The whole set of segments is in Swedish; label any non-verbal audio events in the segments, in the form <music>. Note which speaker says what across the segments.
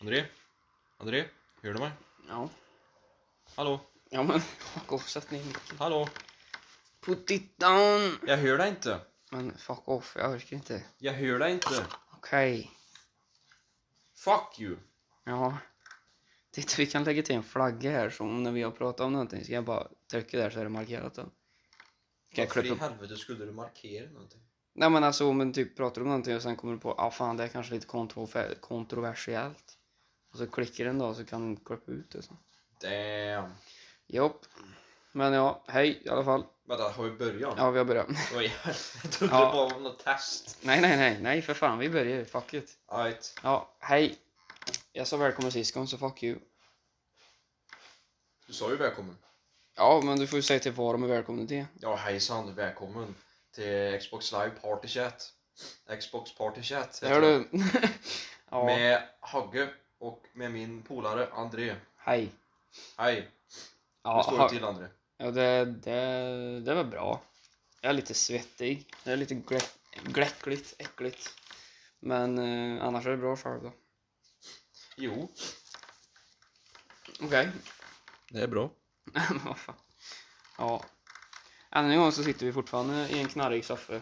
Speaker 1: André? André? Hör du mig?
Speaker 2: Ja.
Speaker 1: Hallå?
Speaker 2: Ja men, <laughs> fuck off, sätt ner micken.
Speaker 1: Hallå?
Speaker 2: Put it down!
Speaker 1: Jag hör dig inte!
Speaker 2: Men fuck off, jag orkar inte.
Speaker 1: Jag hör dig inte!
Speaker 2: Okej.
Speaker 1: Fuck you!
Speaker 2: Ja. Titta, vi kan lägga till en flagga här så om när vi har pratat om någonting så kan jag bara trycka där så är det markerat då. Kan jag
Speaker 1: Varför i
Speaker 2: klippa upp?
Speaker 1: helvete skulle du markera någonting?
Speaker 2: Nej men alltså om man typ pratar om någonting och sen kommer du på ah fan det är kanske lite kontrover- kontroversiellt. Och så klickar den då så kan den klippa ut det så.
Speaker 1: Damn!
Speaker 2: Jopp. Men ja, hej i alla fall.
Speaker 1: Vänta, har vi börjat?
Speaker 2: Ja vi har börjat. <laughs>
Speaker 1: Oj, <laughs> jag trodde
Speaker 2: Ja.
Speaker 1: det var något test.
Speaker 2: nej nej nej, nej för fan vi börjar ju, fuck it.
Speaker 1: Alright.
Speaker 2: Ja, hej. Jag sa välkommen sist gång så fuck you.
Speaker 1: Du sa ju välkommen.
Speaker 2: Ja men du får ju säga till vad de är välkomna till.
Speaker 1: Ja, hejsan. Välkommen till Xbox Live Party Chat. Xbox Party Chat heter
Speaker 2: Hör
Speaker 1: det.
Speaker 2: du? <laughs> ja,
Speaker 1: Med Hagge och med min polare André.
Speaker 2: hej.
Speaker 1: Hej! Hur
Speaker 2: Ja,
Speaker 1: står
Speaker 2: ha-
Speaker 1: det till André?
Speaker 2: ja det, det, det var bra. Jag är lite svettig. Det är lite glä- gläckligt, äckligt. Men eh, annars är det bra själv då.
Speaker 1: Jo,
Speaker 2: Okej.
Speaker 1: det är bra.
Speaker 2: Men <laughs> vad fan. Ja. Än en gång så sitter vi fortfarande i en knarrig soffa. Eh.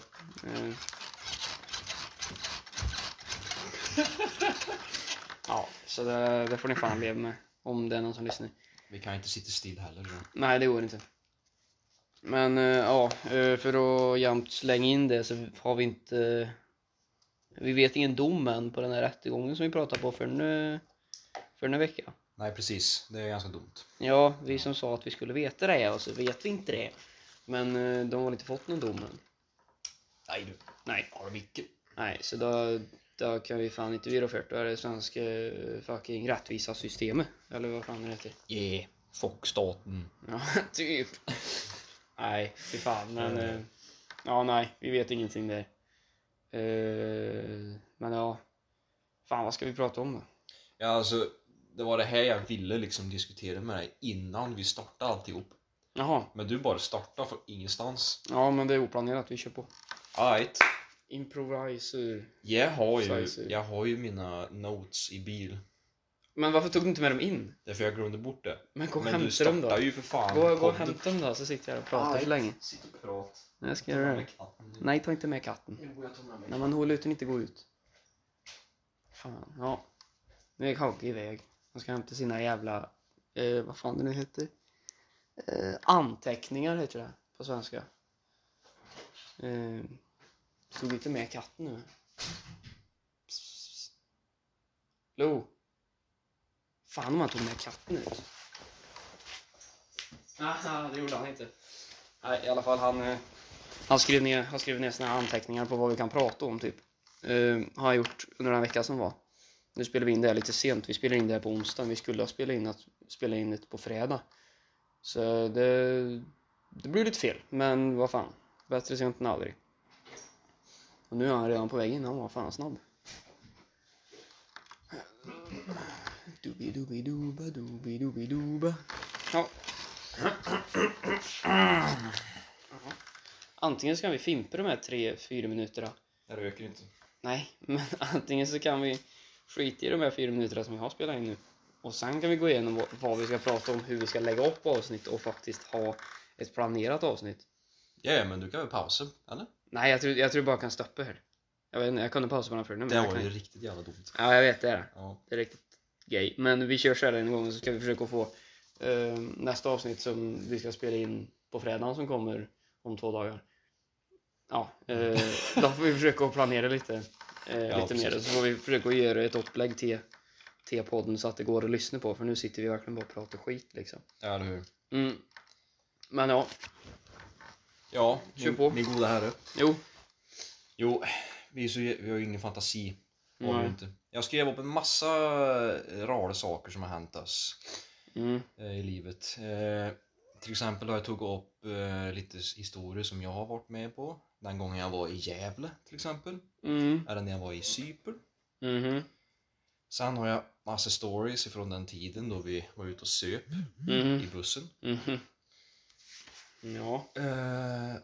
Speaker 2: Ja, så det, det får ni fan leva med. Om det är någon som lyssnar.
Speaker 1: Vi kan inte sitta still heller. då.
Speaker 2: Nej, det går inte. Men eh, ja, eh, för att jämt slänga in det så har vi inte... Vi vet ingen dom än på den här rättegången som vi pratade på för en, för en vecka.
Speaker 1: Nej, precis. Det är ganska dumt.
Speaker 2: Ja, vi som sa att vi skulle veta det och så vet vi inte det. Men eh, de har inte fått någon dom än.
Speaker 1: Nej du,
Speaker 2: Nej.
Speaker 1: har de icke?
Speaker 2: Nej, så då, då kan vi fan inte vi rå för det. Då är det svenska eh, fucking rättvisa systemet. Eller vad fan det heter. <laughs>
Speaker 1: Yeah, fuck staten.
Speaker 2: Ja, typ. Nej, fy fan. Men, eh, ja, nej, vi vet ingenting där. Eh, men ja, fan vad ska vi prata om då?
Speaker 1: <laughs> Ja, alltså, det var det här jag ville liksom diskutera med dig innan vi startade alltihop.
Speaker 2: Jaha,
Speaker 1: Men du bara startade från ingenstans.
Speaker 2: ja men det är oplanerat, vi kör på.
Speaker 1: Alright.
Speaker 2: Improviser.
Speaker 1: Jag har ju,
Speaker 2: Precis.
Speaker 1: jag har ju mina notes i bil.
Speaker 2: Men varför tog du inte med dem in?
Speaker 1: Därför jag glömde bort det.
Speaker 2: Men gå och
Speaker 1: Men du
Speaker 2: hämta dem då.
Speaker 1: startar ju för fan.
Speaker 2: Gå, gå och
Speaker 1: podden.
Speaker 2: hämta dem då så sitter jag och pratar
Speaker 1: Alright.
Speaker 2: så länge.
Speaker 1: Sitt och prat.
Speaker 2: Nej, jag ska göra det.
Speaker 1: Med katten nu.
Speaker 2: Nej, ta inte med katten.
Speaker 1: Jo, jag tar med mig.
Speaker 2: När man håller ut den inte gå ut. Fan, ja. Nu är Hagge iväg. Han ska hämta sina jävla, eh, vad fan det nu heter. Eh, anteckningar heter det på svenska. Eh, stod inte med katten nu. Psst. Lo. Fan om han tog med katten ut. Aha, det gjorde han inte. Nej, i alla fall han... Eh... Han skrev ner, han skrev ner sina anteckningar på vad vi kan prata om typ. Eh, har han gjort under den vecka som var. Nu spelar vi in det här lite sent. Vi spelar in det här på onsdagen. Vi skulle ha spelat in, att, spela in det på fredag. Så det, det blir lite fel. Men vad fan. Bättre sent än aldrig. Och nu är han redan på väg in. Han var fan snabb. Dubi-dubi-duba, dubi-dubi-duba. Ja. Antingen så kan vi fimpa de här tre, fyra minuterna.
Speaker 1: Jag röker inte.
Speaker 2: Nej, men <laughs> antingen så kan vi skita i de här fyra minuterna som vi har spelat in nu och sen kan vi gå igenom vad- vad vi ska prata om, hur vi ska lägga upp avsnitt och faktiskt ha ett planerat avsnitt.
Speaker 1: Ja, ja, men du kan väl pausa, eller?
Speaker 2: Nej, jag tror, jag tror bara jag kan stoppa här. Jag vet inte, jag kunde pausa på den förr nu, men
Speaker 1: Det
Speaker 2: jag
Speaker 1: var
Speaker 2: kan...
Speaker 1: ju riktigt jävla dumt.
Speaker 2: Ja, jag vet det är det.
Speaker 1: Ja.
Speaker 2: Det är riktigt gay. Men vi kör så här en gång så ska vi försöka få eh, nästa avsnitt som vi ska spela in på fredagen som kommer om två dagar. Ja, eh, då får vi försöka att planera lite, eh,
Speaker 1: Ja,
Speaker 2: lite mer.
Speaker 1: precis.
Speaker 2: Så får vi försöka att göra ett upplägg till, till podden så att det går att lyssna på för nu sitter vi verkligen bara och pratar skit liksom.
Speaker 1: Ja, eller hur?
Speaker 2: Mm. Men ja,
Speaker 1: Ja,
Speaker 2: Kör
Speaker 1: min-
Speaker 2: på.
Speaker 1: min goda herre.
Speaker 2: jo.
Speaker 1: Jo, vi, är så, vi har ju ingen fantasi. Har vi
Speaker 2: Nej.
Speaker 1: ju inte. Jag skrev upp en massa eh, rara saker som har hänt oss
Speaker 2: Mm.
Speaker 1: eh, i livet. Eh, till exempel har jag tagit upp eh, lite s- historier som jag har varit med på. Den gången jag var i Gävle till exempel.
Speaker 2: Mm.
Speaker 1: Eller när jag var i Cypern.
Speaker 2: Mhm.
Speaker 1: Sen har jag massa stories ifrån den tiden då vi var ute och söp
Speaker 2: Mhm.
Speaker 1: i bussen.
Speaker 2: Mhm. Ja.
Speaker 1: Eh,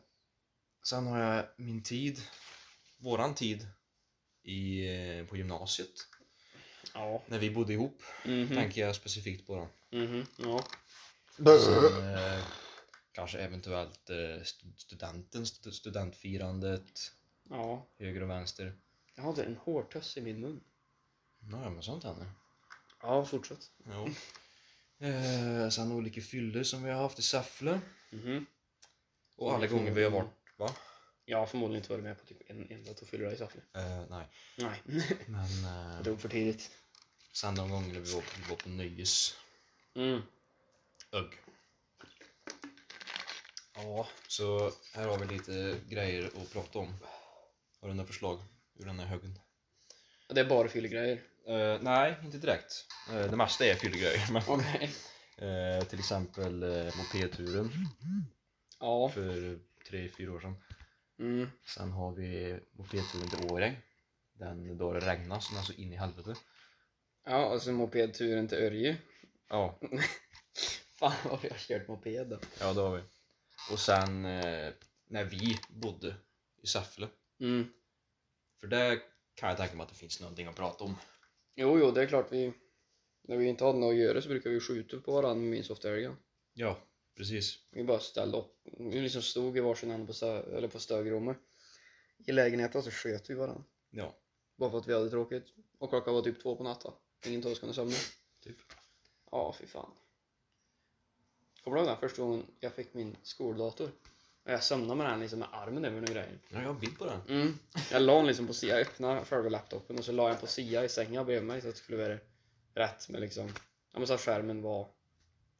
Speaker 1: sen har jag min tid, våran tid, i, eh, på gymnasiet.
Speaker 2: Ja.
Speaker 1: När vi bodde ihop
Speaker 2: Mhm.
Speaker 1: tänker jag specifikt på. Då.
Speaker 2: Mhm. Ja.
Speaker 1: Sen, eh, kanske eventuellt eh, stu- studenten, stu- studentfirandet,
Speaker 2: Ja.
Speaker 1: höger och vänster.
Speaker 2: Jag hade en hårtuss i min mun.
Speaker 1: Nåja, men sånt händer.
Speaker 2: Ja, fortsätt.
Speaker 1: Jo. Eh, sen olika fyllor som vi har haft i Säffle.
Speaker 2: Mhm.
Speaker 1: Och alla gånger vi har varit, va?
Speaker 2: Jag har förmodligen inte varit med på typ en enda tofylla i Säffle.
Speaker 1: Eh, nej,
Speaker 2: <laughs> Nej,
Speaker 1: men
Speaker 2: jag
Speaker 1: eh,
Speaker 2: dog för tidigt.
Speaker 1: sen de gångerna vi var, vi var på nöjes.
Speaker 2: Mm.
Speaker 1: Ögg. Ja, så här har vi lite grejer att prata om. Har du några förslag ur den här högen?
Speaker 2: Det är bara fyllegrejer.
Speaker 1: Eh, nej, inte direkt. Eh, det mesta är fyllegrejer. Men,
Speaker 2: Okej.
Speaker 1: eh, till exempel uh, mopedturen
Speaker 2: <laughs> Ja.
Speaker 1: för tre fyra år sedan.
Speaker 2: Mm.
Speaker 1: Sen har vi mopedturen till Åre. Den då det regnade så den är så in i helvete.
Speaker 2: Ja, och så mopedturen till Örje. <laughs>
Speaker 1: Ja,
Speaker 2: Fan vad vi har kört moped då.
Speaker 1: ja det har vi. Och sen eh, när vi bodde i Säffle.
Speaker 2: Mm.
Speaker 1: För där kan jag tänka mig att det finns någonting att prata om.
Speaker 2: Jo, jo, det är klart vi... När vi inte hade något att göra så brukade vi skjuta på varandra minst ofta helgen.
Speaker 1: Ja, precis.
Speaker 2: Vi bara ställde upp. Vi liksom stod i varsin ände på, stö- eller på stögrummet. I lägenheten så sköt vi varandra.
Speaker 1: Ja,
Speaker 2: Bara för att vi hade tråkigt. Och klockan var typ två på natten. Ingen av oss kunde somna.
Speaker 1: typ.
Speaker 2: Ja, fy fan. Kommer du ihåg den första gången jag fick min skoldator? Och jag somnade med den liksom med armen över några grejer.
Speaker 1: Ja, jag har en bild på den.
Speaker 2: Mm. Jag la den liksom på sidan, jag öppnade själva laptopen och så la jag den på sidan i sängen bredvid mig så att det skulle vara rätt med liksom, ja men så att skärmen var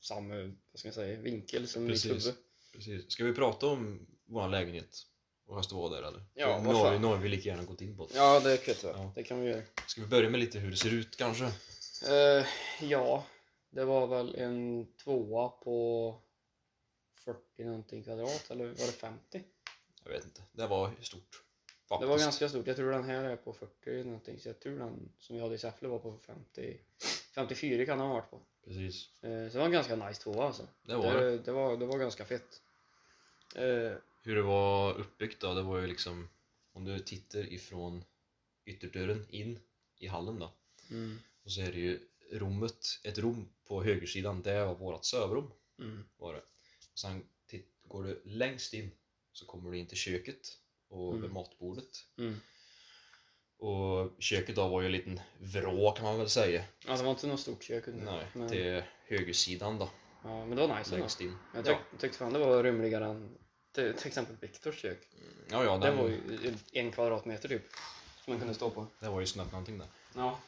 Speaker 2: samma, vad ska jag säga, vinkel som mitt
Speaker 1: Precis.
Speaker 2: huvud.
Speaker 1: Precis. Ska vi prata om vår lägenhet och höst och vår där eller?
Speaker 2: Ja,
Speaker 1: nu,
Speaker 2: vad
Speaker 1: har
Speaker 2: fan.
Speaker 1: vi, nu har vi lika gärna gått in på det.
Speaker 2: Ja, det kan jag
Speaker 1: Ja.
Speaker 2: Det kan vi göra.
Speaker 1: Ska vi börja med lite hur det ser ut kanske?
Speaker 2: Eh, ja, det var väl en tvåa på 40 någonting kvadrat, eller var det 50?
Speaker 1: Jag vet inte. Det var stort. Faktiskt.
Speaker 2: Det var ganska stort. Jag tror den här är på 40 någonting, så jag tror den som vi hade i Säffle var på 50, 54 kan den ha varit på.
Speaker 1: Precis.
Speaker 2: Eh, så det var en ganska nice tvåa alltså.
Speaker 1: Det var det.
Speaker 2: Det, det, var, det var ganska fett. Eh,
Speaker 1: Hur det var uppbyggt då, det var ju liksom om du tittar ifrån ytterdörren in i hallen då
Speaker 2: mm,
Speaker 1: och så är det ju rummet, ett rum på högersidan, det var vårt sovrum
Speaker 2: mm,
Speaker 1: var det. Och sen titt- går du längst in så kommer du in till köket och
Speaker 2: Mm.
Speaker 1: vid matbordet.
Speaker 2: mm.
Speaker 1: Och köket då var ju en liten vrå kan man väl säga.
Speaker 2: Alltså det var inte något stort kök under.
Speaker 1: Nej,
Speaker 2: men, det...
Speaker 1: till högersidan då,
Speaker 2: ja, men det var nice ändå.
Speaker 1: längst in.
Speaker 2: Jag tyck,
Speaker 1: Ja,
Speaker 2: tyckte fan det var rymligare än till, till exempel Viktors kök.
Speaker 1: ja, ja
Speaker 2: Det
Speaker 1: den,
Speaker 2: var ju en kvadratmeter typ. Som man kunde stå på.
Speaker 1: det var ju snabbt någonting där.
Speaker 2: Ja.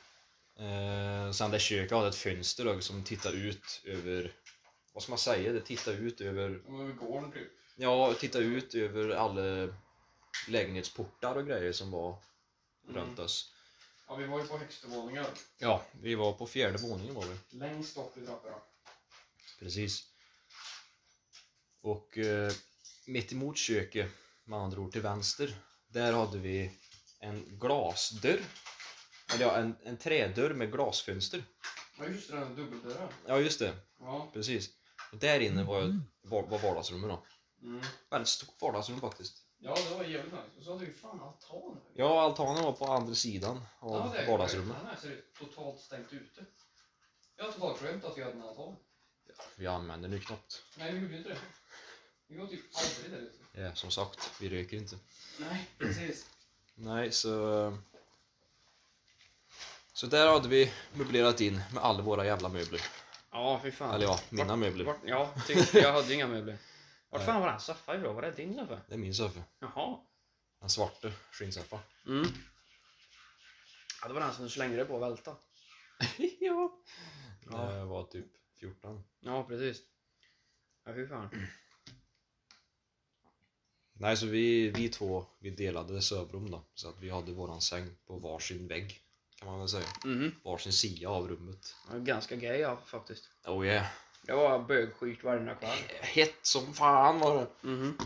Speaker 1: Eh, sen det köket hade ett fönster då, som tittar ut över, vad ska man säga, det tittar ut över,
Speaker 2: Över gården typ.
Speaker 1: ja, tittar ut över alla lägenhetsportar och grejer som var runt oss.
Speaker 2: Mm. Ja, vi var ju på högstevåningen.
Speaker 1: Ja, vi var på fjärde våningen var vi.
Speaker 2: Längst upp i trapporna.
Speaker 1: Precis. Och eh, mitt emot köket, med andra ord till vänster, där hade vi en glasdörr. Eller ja, en, en trädörr med glasfönster.
Speaker 2: Ja, just det. Den dubbeldörren.
Speaker 1: Ja, just det.
Speaker 2: Ja.
Speaker 1: Precis. Och där inne var, var, var vardagsrummet då.
Speaker 2: Mm.
Speaker 1: Väldigt stort vardagsrum faktiskt.
Speaker 2: Ja, det var jävligt nice. Och så hade vi fan altan.
Speaker 1: Ja, altanen var på andra sidan av vardagsrummet.
Speaker 2: Den här ser ut totalt stängt ute. Jag har totalt glömt att vi hade en altan.
Speaker 1: Vi använder nu knappt.
Speaker 2: Nej, vi gjorde inte det. Vi går typ aldrig där ute.
Speaker 1: Ja, som sagt, vi röker inte.
Speaker 2: Nej, precis.
Speaker 1: Nej, så... eh, Så där hade vi möblerat in med alla våra jävla möbler.
Speaker 2: Ja, fy fan.
Speaker 1: Eller ja, mina
Speaker 2: Vart-
Speaker 1: möbler.
Speaker 2: Vart, ja, typ, jag hade ju inga möbler. Vart
Speaker 1: Nej.
Speaker 2: fan var den soffa ifrån? Var det din soffa?
Speaker 1: Det är min soffa.
Speaker 2: Jaha.
Speaker 1: Den svarta skinnsoffa.
Speaker 2: Mm. Ja, det var den som du slängde dig på och välta.
Speaker 1: <laughs> ja.
Speaker 2: Ja.
Speaker 1: Det var typ 14.
Speaker 2: Ja, precis. Ja, fy fan.
Speaker 1: Nej, så vi, vi två, vi delade sovrum då. Så att vi hade våran säng på varsin vägg. Kan man väl säga.
Speaker 2: Mhm.
Speaker 1: Varsin sida av rummet.
Speaker 2: Det var ganska gay ja, faktiskt.
Speaker 1: Oh yeah.
Speaker 2: Det var bögskit varenda kväll.
Speaker 1: Hett som fan var det.
Speaker 2: Mhm.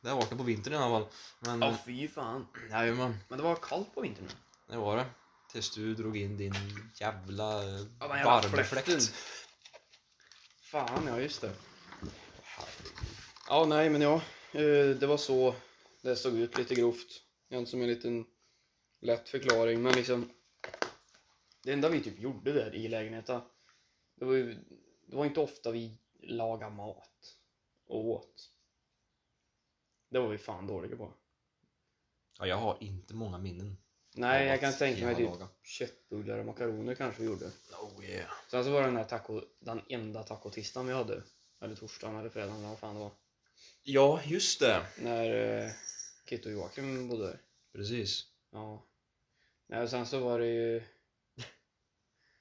Speaker 1: Det har varit det på vintern i alla fall. Men,
Speaker 2: Ja, fy fan.
Speaker 1: jajamän.
Speaker 2: Men det var kallt på vintern.
Speaker 1: Det var det. Tills du drog in din jävla eh,
Speaker 2: Ja, den jävla fläkten.
Speaker 1: värmefläkt.
Speaker 2: Fan, ja just det. Ja, nej men ja. eh, Det var så det såg ut lite grovt. Inte som en liten lätt förklaring, men liksom Det enda vi typ gjorde där i lägenheten, det var ju det var inte ofta vi lagade mat och åt. Det var vi fan dåliga på.
Speaker 1: Ja, jag har inte många minnen.
Speaker 2: Nej,
Speaker 1: Ja,
Speaker 2: jag kan
Speaker 1: vad
Speaker 2: tänka mig
Speaker 1: jag
Speaker 2: typ
Speaker 1: lagar.
Speaker 2: köttbullar och makaroner kanske vi gjorde.
Speaker 1: Oh yeah.
Speaker 2: Sen så var det den här taco, den enda tacotisdagen vi hade. Eller torsdagen eller fredagen eller vad fan det var.
Speaker 1: Ja, just det.
Speaker 2: När eh, Kit och Joakim bodde där.
Speaker 1: Precis.
Speaker 2: Ja. Nej, och sen så var det ju...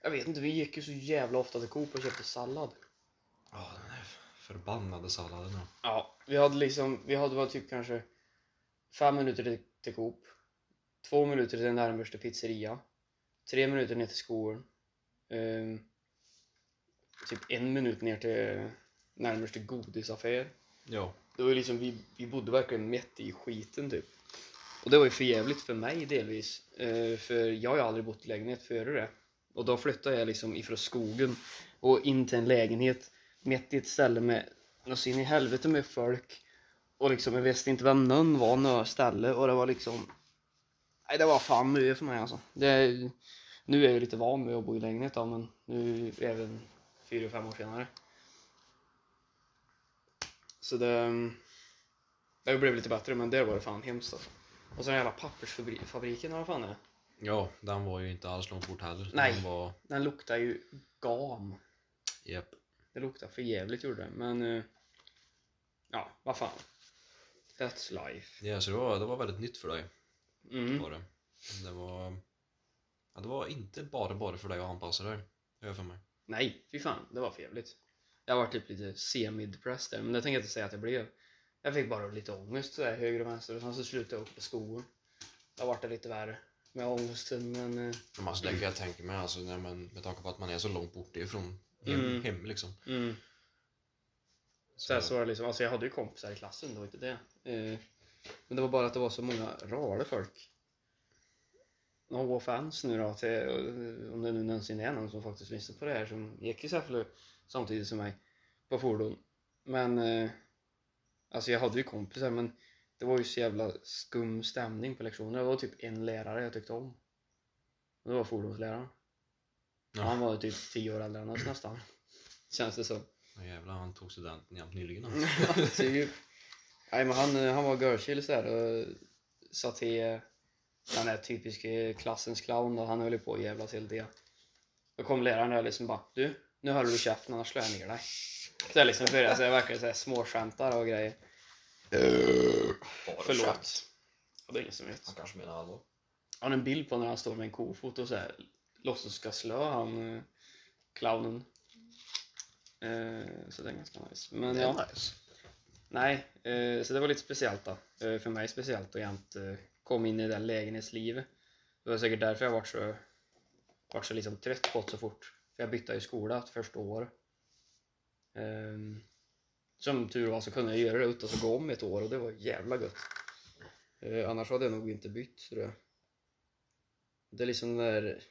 Speaker 2: Jag vet inte, vi gick ju så jävla ofta till Coop och köpte sallad.
Speaker 1: Ja, den här förbannade salladen. ja.
Speaker 2: Ja, vi hade liksom, vi hade väl typ kanske fem minuter till, till Coop, två minuter till närmaste pizzeria, tre minuter ner till skolan, ehm, typ en minut ner till närmaste godisaffär.
Speaker 1: Ja.
Speaker 2: Det var ju liksom, vi, vi bodde verkligen mitt i skiten typ. Och det var ju för jävligt för mig delvis. Eh, för jag har ju aldrig bott i lägenhet före det. Och då flyttade jag liksom ifrån skogen och in till en lägenhet mitt i ett ställe med något så in i helvete med folk. Och liksom jag visste inte vem någon var, något ställe och det var liksom Nej det var fan mycket för mig alltså. Det, nu är jag ju lite van med att bo i lägenhet då men nu även fyra fem år senare. Så det, det blev lite bättre men där var det fan hemskt alltså. Och sen jävla pappersfabriken, vad fan är det?
Speaker 1: Ja, den var ju inte alls långt bort heller.
Speaker 2: Nej.
Speaker 1: Den var...
Speaker 2: Den luktar ju gam.
Speaker 1: Japp.
Speaker 2: Det luktar för jävligt gjorde det, men... eh, ja, vad fan. That's life.
Speaker 1: Ja, så det var, det var väldigt nytt för dig.
Speaker 2: Mm.
Speaker 1: Var det. Men det var... Ja, det var inte bara bara för dig att anpassa dig. Har jag för mig.
Speaker 2: Nej, fy fan, det var för jävligt. Jag var typ lite semi-depressed där, men det tänker jag inte säga att jag blev. Jag fick bara lite ångest sådär höger och vänster och sen så slutade jag upp på skolan. Då vart det lite värre med ångesten, men... eh,
Speaker 1: Men alltså, det kan jag tänka mig alltså, när man, med tanke på att man är så långt bort ifrån hem,
Speaker 2: Mm.
Speaker 1: hem liksom.
Speaker 2: mm. Så här så var det liksom, alltså jag hade ju kompisar i klassen, det var inte det. Eh, Men det var bara att det var så många rara folk. No offense nu då, till, eh, om det nu någonsin är någon som faktiskt lyssnar på det här som gick i Säffle samtidigt som mig på fordon. Men eh, alltså jag hade ju kompisar men det var ju så jävla skum stämning på lektionerna. Det var typ en lärare jag tyckte om. Och det var fordonsläraren.
Speaker 1: Ja.
Speaker 2: Han var ju typ tio år äldre än oss nästan. Känns det som.
Speaker 1: Och jävlar, han tog studenten jämt nyligen. alltså.
Speaker 2: Ja, typ. Nej men han, eh, han var görchill sådär och sa till eh, den där typiska klassens clown och han höll ju på att jävlas hela tiden. Då kom läraren där och liksom bara du, nu håller du käften annars slår jag ner dig. Så jag liksom började så jag verkligen såhär småskämtar och grejer.
Speaker 1: Bara skämt.
Speaker 2: Förlåt. Ja, det är ingen som vet.
Speaker 1: Han kanske menar allvar.
Speaker 2: Jag har en bild på när han står med en kofot och så här, låtsas ska slö han eh, clownen. Eh, så det är ganska nice. Men ja.
Speaker 1: nice.
Speaker 2: Nej, eh, så det var lite speciellt då. Eh, för mig speciellt och jämt eh, kom in i det där lägenhetslivet. Det var säkert därför jag vart så, vart så liksom trött på det så fort. För jag bytte ju skola första året. Ehm, som tur var så kunde jag göra det utan att gå om ett år och det var jävla gött. Eh, annars hade jag nog inte bytt tror jag. Det är liksom den där...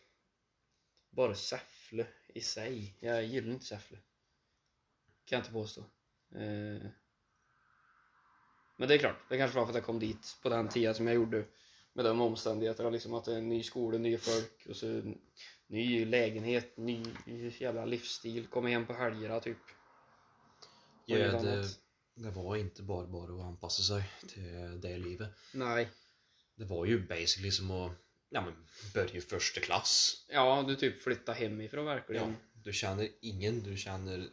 Speaker 2: Bara Säffle i sig. Jag gillar inte Säffle. Kan jag inte påstå. Eh, men det är klart, det kanske var för att jag kom dit på den tiden som jag gjorde med de omständigheterna, liksom att det är en ny skola, nya folk och så en ny lägenhet, ny jävla livsstil, komma hem på helgerna typ. Och
Speaker 1: Ja,
Speaker 2: inget
Speaker 1: det,
Speaker 2: annat.
Speaker 1: det var inte bara bara att anpassa sig till det livet.
Speaker 2: Nej.
Speaker 1: Det var ju basically som att ja, men, börja i första klass.
Speaker 2: Ja, du typ flyttar hemifrån verkligen.
Speaker 1: Ja, du känner ingen, du känner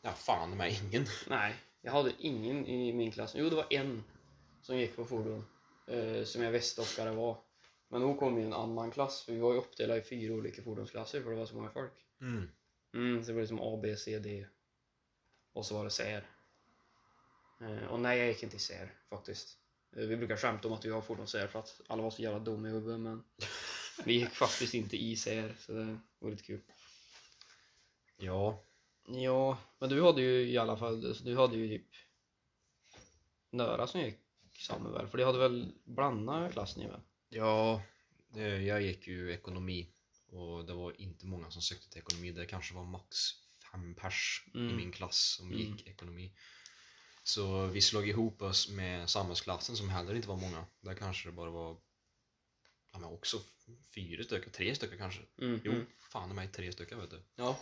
Speaker 1: ja, fan mig ingen.
Speaker 2: Nej, jag hade ingen i min klass. Jo, det var en som gick på fordon, eh, som jag visste vilka det var. Men hon kom i en annan klass, för vi var ju uppdelade i fyra olika fordonsklasser för det var så många folk. Mm, så det var liksom A, B, C, D. Och så var det SER. Eh, och nej, jag gick inte i SER faktiskt. Eh, vi brukar skämta om att vi har fordons-SER för att alla var så jävla dumma i huvudet, <laughs> men vi gick faktiskt inte i SER, så det var lite kul.
Speaker 1: Ja,
Speaker 2: Ja, men du hade ju i alla fall, alltså, du hade ju typ Nöra som gick samma väl, för det hade väl blandat klass ni väl?
Speaker 1: ja det, jag gick ju ekonomi och det var inte många som sökte till ekonomi. Det kanske var max fem pers i
Speaker 2: Mm.
Speaker 1: min klass som
Speaker 2: Mm.
Speaker 1: gick ekonomi. Så vi slog ihop oss med samhällsklassen som heller inte var många. Där kanske det bara var ja, men också fyra stycken, tre stycken kanske.
Speaker 2: Mm,
Speaker 1: Jo,
Speaker 2: mm.
Speaker 1: fan de är tre stycken vet du.
Speaker 2: Ja.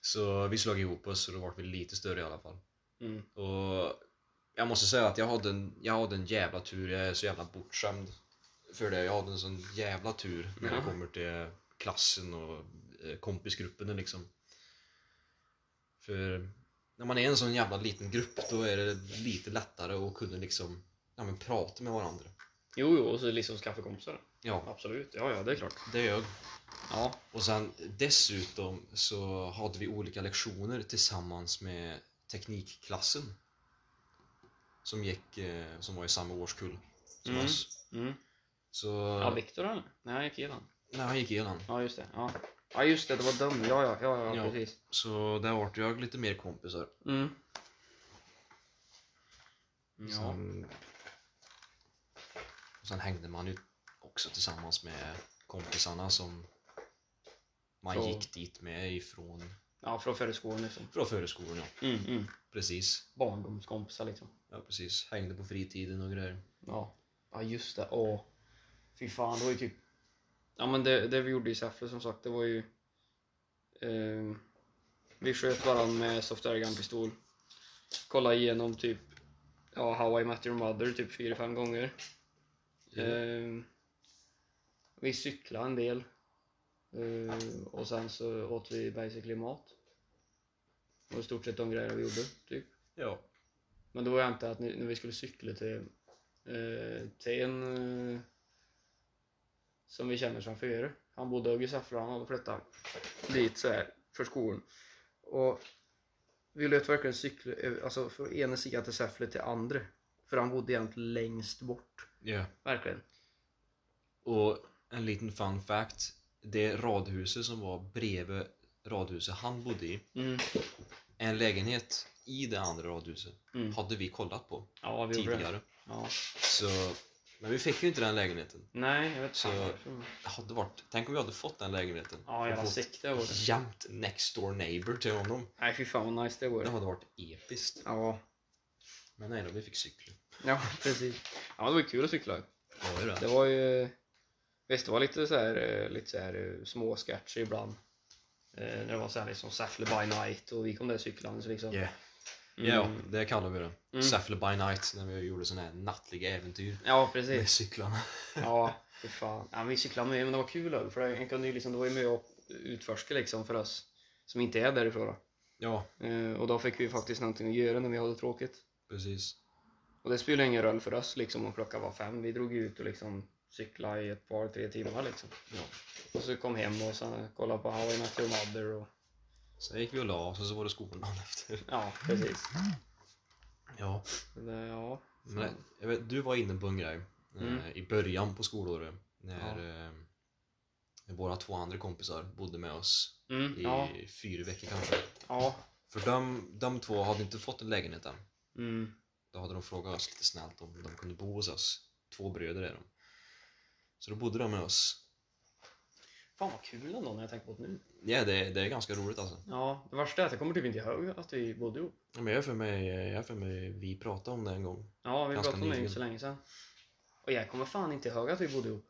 Speaker 1: Så vi slog ihop oss och då vart vi lite större i alla fall.
Speaker 2: Mm.
Speaker 1: Och jag måste säga att jag hade en, jag hade en jävla tur, jag är så jävla bortskämd för det. Jag hade en sån jävla tur när
Speaker 2: Ja.
Speaker 1: det kommer till klassen och eh, kompisgrupperna liksom. För när man är en sån jävla liten grupp då är det lite lättare att kunna liksom, ja men prata med varandra.
Speaker 2: Jo, jo, och så liksom skaffa kompisar.
Speaker 1: Ja,
Speaker 2: Absolut. Ja, ja, det är klart.
Speaker 1: det gör jag.
Speaker 2: Ja.
Speaker 1: Och sen dessutom så hade vi olika lektioner tillsammans med teknikklassen. Som gick, eh, som var i samma årskull som
Speaker 2: Mm.
Speaker 1: oss.
Speaker 2: Mm.
Speaker 1: Så,
Speaker 2: Ja, Viktor eller? Nej, han gick igenom.
Speaker 1: nej han gick igenom.
Speaker 2: Ja, just det. Ja. ja, just det. Det var dum. Ja, ja, ja, ja,
Speaker 1: Ja.
Speaker 2: precis.
Speaker 1: Så där vart jag lite mer kompisar.
Speaker 2: Mm. Ja.
Speaker 1: Sen, och sen hängde man ju också tillsammans med kompisarna som man
Speaker 2: Från-
Speaker 1: gick dit med ifrån,
Speaker 2: ja, från förra skolan liksom.
Speaker 1: från förskolan ja.
Speaker 2: Mm, mm.
Speaker 1: Precis.
Speaker 2: Barndomskompisar liksom.
Speaker 1: Ja precis. Hängde på fritiden och grejer.
Speaker 2: Ja. Ja, just det. Åh. Fy fan, det var ju typ... Ja, men det, det vi gjorde i Säffle som sagt, det var ju... Eh, vi sköt varandra med soft airgun-pistol. Kollade igenom typ... Ja, How I Met Your Mother typ 4-5 gånger. Eh, vi cyklade en del. Eh, och sen så åt vi basically mat. Och i stort sett de grejer vi gjorde, typ.
Speaker 1: Ja.
Speaker 2: Men då var jag inte att ni- när vi skulle cykla till, eh, till en eh, som vi känner sedan förr. Han bodde i Säffle, han hade flyttat dit så här för skolan. Och vi lät verkligen cykla över- alltså från ena sidan till Säffle till andra. För han bodde egentligen längst bort.
Speaker 1: Ja.
Speaker 2: Verkligen.
Speaker 1: Och en liten fun fact. Det radhuset som var bredvid radhuset han bodde i,
Speaker 2: Mm.
Speaker 1: en lägenhet i det andra radhuset,
Speaker 2: Mm.
Speaker 1: hade vi kollat på
Speaker 2: Ja, vi gjorde det.
Speaker 1: tidigare.
Speaker 2: Ja.
Speaker 1: Så, men vi fick ju inte den lägenheten.
Speaker 2: Nej, jag vet
Speaker 1: Så-
Speaker 2: inte.
Speaker 1: Det hade varit, tänk om vi hade fått den lägenheten.
Speaker 2: Ja, jävla
Speaker 1: Och fått
Speaker 2: sick det vore.
Speaker 1: Jämt next door neighbor till honom.
Speaker 2: Nej, fy fan vad nice det
Speaker 1: Det
Speaker 2: vore.
Speaker 1: hade varit episkt.
Speaker 2: Ja.
Speaker 1: Men nej då, vi fick cykla.
Speaker 2: ja, <laughs> precis. Ja, det var ju kul att cykla.
Speaker 1: Ja, det är
Speaker 2: Det
Speaker 1: det.
Speaker 2: var ju... Visst, det var lite så här, eh, lite så här eh, små sketcher ibland. Eh, när det var så här liksom Säffle by night och vi kom där cyklande så liksom.
Speaker 1: Yeah.
Speaker 2: Mm.
Speaker 1: Ja, det kallar vi det.
Speaker 2: Mm.
Speaker 1: Säffle by night, när vi gjorde såna här nattliga äventyr
Speaker 2: Ja,
Speaker 1: med <laughs>
Speaker 2: precis.
Speaker 1: cyklarna.
Speaker 2: Ja, fy fan. Ja, vi cyklade med, men det var kul då, för det, kunde ju liksom, det var ju mycket att utforska liksom för oss som inte är därifrån. då.
Speaker 1: Ja,
Speaker 2: Eh, och då fick vi ju faktiskt någonting att göra när vi hade tråkigt.
Speaker 1: precis.
Speaker 2: Och det spelade ingen roll för oss liksom om klockan var fem. Vi drog ju ut och liksom cyklade i ett par, tre timmar liksom.
Speaker 1: Ja.
Speaker 2: Och så kom hem och sen kollade på How I Met Your Mother och
Speaker 1: Sen gick vi och la oss och så var det skolan dagen efter.
Speaker 2: ja, precis.
Speaker 1: Ja,
Speaker 2: Det, ja.
Speaker 1: men jag vet, du var inne på en grej eh,
Speaker 2: Mm.
Speaker 1: i början på skolåret när eh, våra två andra kompisar bodde med oss
Speaker 2: Mm,
Speaker 1: i
Speaker 2: ja,
Speaker 1: fyra veckor kanske.
Speaker 2: ja.
Speaker 1: För de, de två hade inte fått en lägenhet än.
Speaker 2: Mm,
Speaker 1: Då hade de frågat oss lite snällt om de kunde bo hos oss. Två bröder är de. Så då bodde de med oss.
Speaker 2: Fan vad kul ändå när jag tänker på det nu.
Speaker 1: Ja, det, det är ganska roligt alltså.
Speaker 2: Ja, det värsta är att jag kommer typ inte ihåg att vi bodde ihop.
Speaker 1: Ja, Men jag har för mig, jag har för mig vi pratade om det en gång.
Speaker 2: Ja, vi
Speaker 1: Ganska
Speaker 2: pratade om det ju
Speaker 1: nyligen.
Speaker 2: så länge sedan. Och jag kommer fan inte ihåg att vi bodde ihop.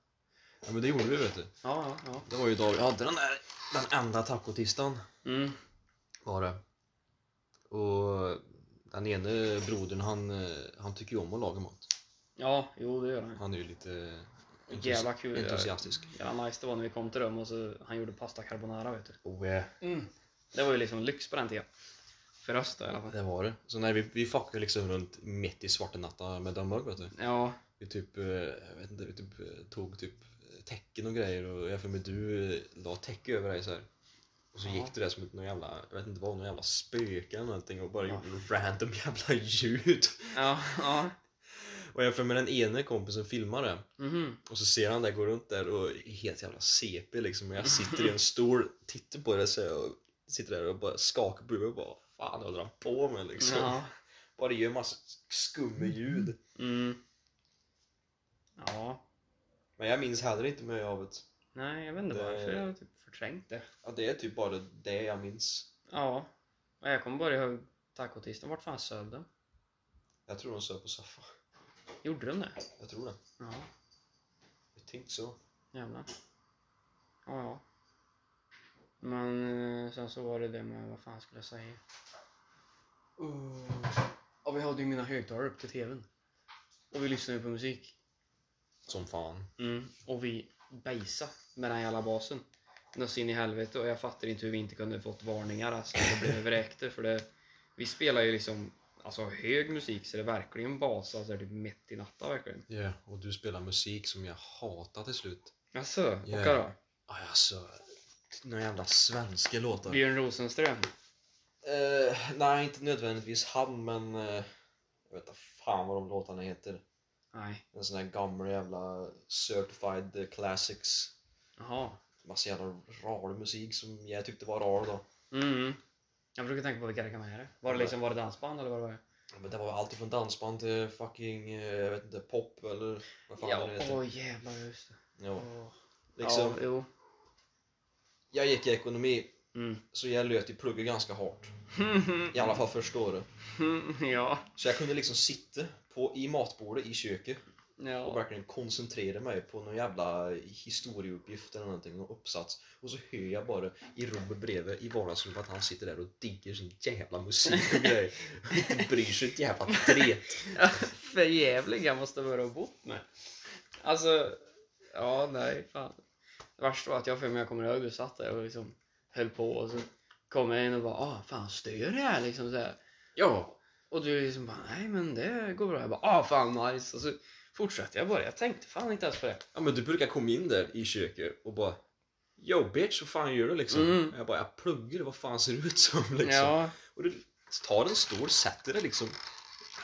Speaker 1: Ja men det gjorde vi vet du.
Speaker 2: Ja, ja, ja.
Speaker 1: Det var ju då vi hade den där, den enda tacotistan.
Speaker 2: Mm,
Speaker 1: var det. Och den ene brodern han, eh, han tycker ju om att laga mat.
Speaker 2: ja, jo det gör han.
Speaker 1: Han är ju lite entusi-
Speaker 2: Jävla kul.
Speaker 1: entusiastisk.
Speaker 2: Jävla nice det var när vi kom till dem och så han gjorde pasta carbonara vet du.
Speaker 1: Och eh,
Speaker 2: Det var ju liksom lyx på den tiden. För oss då i alla fall.
Speaker 1: det var det. Så nej, vi, vi fuckade liksom runt mitt i svarta natten med dem också, vet du.
Speaker 2: Ja,
Speaker 1: Vi typ, eh, jag vet inte, vi typ eh, tog typ täcken och grejer och jag för mig du eh, la täcke över dig så här. Och så
Speaker 2: Ja.
Speaker 1: gick du där som ett någon jävla, jag vet inte vad, någon jävla spöke eller någonting och bara
Speaker 2: Ja.
Speaker 1: gjorde random <laughs> jävla ljud.
Speaker 2: ja, ja.
Speaker 1: Och jag för mig den ene kompisen filmade
Speaker 2: Mhm.
Speaker 1: Och så ser han där gå runt där och är helt jävla CP liksom och jag sitter i en stol, tittar på det så jag och sitter där och bara skakar på huvudet och bara Fan vad håller han på med liksom?
Speaker 2: Ja.
Speaker 1: Bara gör en massa skumma ljud.
Speaker 2: Mm. Ja.
Speaker 1: Men jag minns heller inte mycket av det.
Speaker 2: Nej, jag vet inte
Speaker 1: Det-
Speaker 2: varför jag har typ förträngt det.
Speaker 1: Ja, det är typ bara det jag minns.
Speaker 2: Ja. Och jag kommer bara ihåg tacotisten. Vart fan söv den?
Speaker 1: Jag tror de söp på soffan.
Speaker 2: Gjorde den det?
Speaker 1: Jag tror det.
Speaker 2: Ja.
Speaker 1: Jag tänkte så.
Speaker 2: Jävlar. Ja, ja. Men eh, sen så var det det med vad fan skulle jag säga? Oh. Ja, vi hade ju mina högtalare upp till TVn. Och vi lyssnade ju på musik.
Speaker 1: Som fan.
Speaker 2: Mm. Och vi bajsa med den jävla basen. Nås in i helvete och jag fattar inte hur vi inte kunde fått varningar alltså. Det
Speaker 1: <laughs>
Speaker 2: blev vräkter för det. Vi spelar ju liksom alltså hög musik så det är verkligen bas alltså det är typ mitt i natten verkligen.
Speaker 1: Ja, och du spelar musik som jag hatar till slut.
Speaker 2: Jaså,
Speaker 1: Ja.
Speaker 2: och då?
Speaker 1: Aj, Alltså, några jävla svenska låtar.
Speaker 2: Björn Rosenström?
Speaker 1: Eh, nej, inte nödvändigtvis han, men eh, jag vet inte fan vad de låtarna heter.
Speaker 2: Nej.
Speaker 1: En sån här gammal jävla certified classics.
Speaker 2: Jaha.
Speaker 1: Massa jävla rar musik som jag tyckte var rar då.
Speaker 2: Mm. Jag brukar tänka på vilka det kan vara. Var det liksom var det dansband eller vad det var?
Speaker 1: Ja, Men det var allt från dansband till fucking, eh, jag vet inte, pop eller vad fan det
Speaker 2: Ja,
Speaker 1: heter.
Speaker 2: åh jävlar just det.
Speaker 1: Ja,
Speaker 2: Åh.
Speaker 1: liksom,
Speaker 2: Ja, jo.
Speaker 1: Jag gick i ekonomi,
Speaker 2: Mm.
Speaker 1: så jag löt i plugget ganska hårt. I alla fall första året.
Speaker 2: <laughs> ja.
Speaker 1: Så jag kunde liksom sitta på, i matbordet i köket och
Speaker 2: Ja.
Speaker 1: verkligen koncentrera mig på någon jävla historieuppgift eller någonting, någon uppsats. Och så hör jag bara i rummet bredvid i vardagsrummet att han sitter där och digger sin jävla musik och grejer. Och inte bryr sig ett jävla dret.
Speaker 2: För jävlig jag måste vara och bott med. Alltså, ja nej fan. Det värsta var att jag för mig jag kommer ihåg, du satt där och liksom höll på och så kom jag in och bara ah fan stör det här liksom så här.
Speaker 1: Ja,
Speaker 2: Och du liksom bara nej men det går bra. Jag bara ah fan nice. Och så fortsatte jag bara. Jag tänkte fan inte ens på det.
Speaker 1: ja, men du brukar komma in där i köket och bara Yo bitch, vad fan gör du liksom?
Speaker 2: Mm.
Speaker 1: Jag bara, jag pluggar, vad fan ser du ut som liksom?
Speaker 2: Ja.
Speaker 1: Och du tar en stol, sätter dig liksom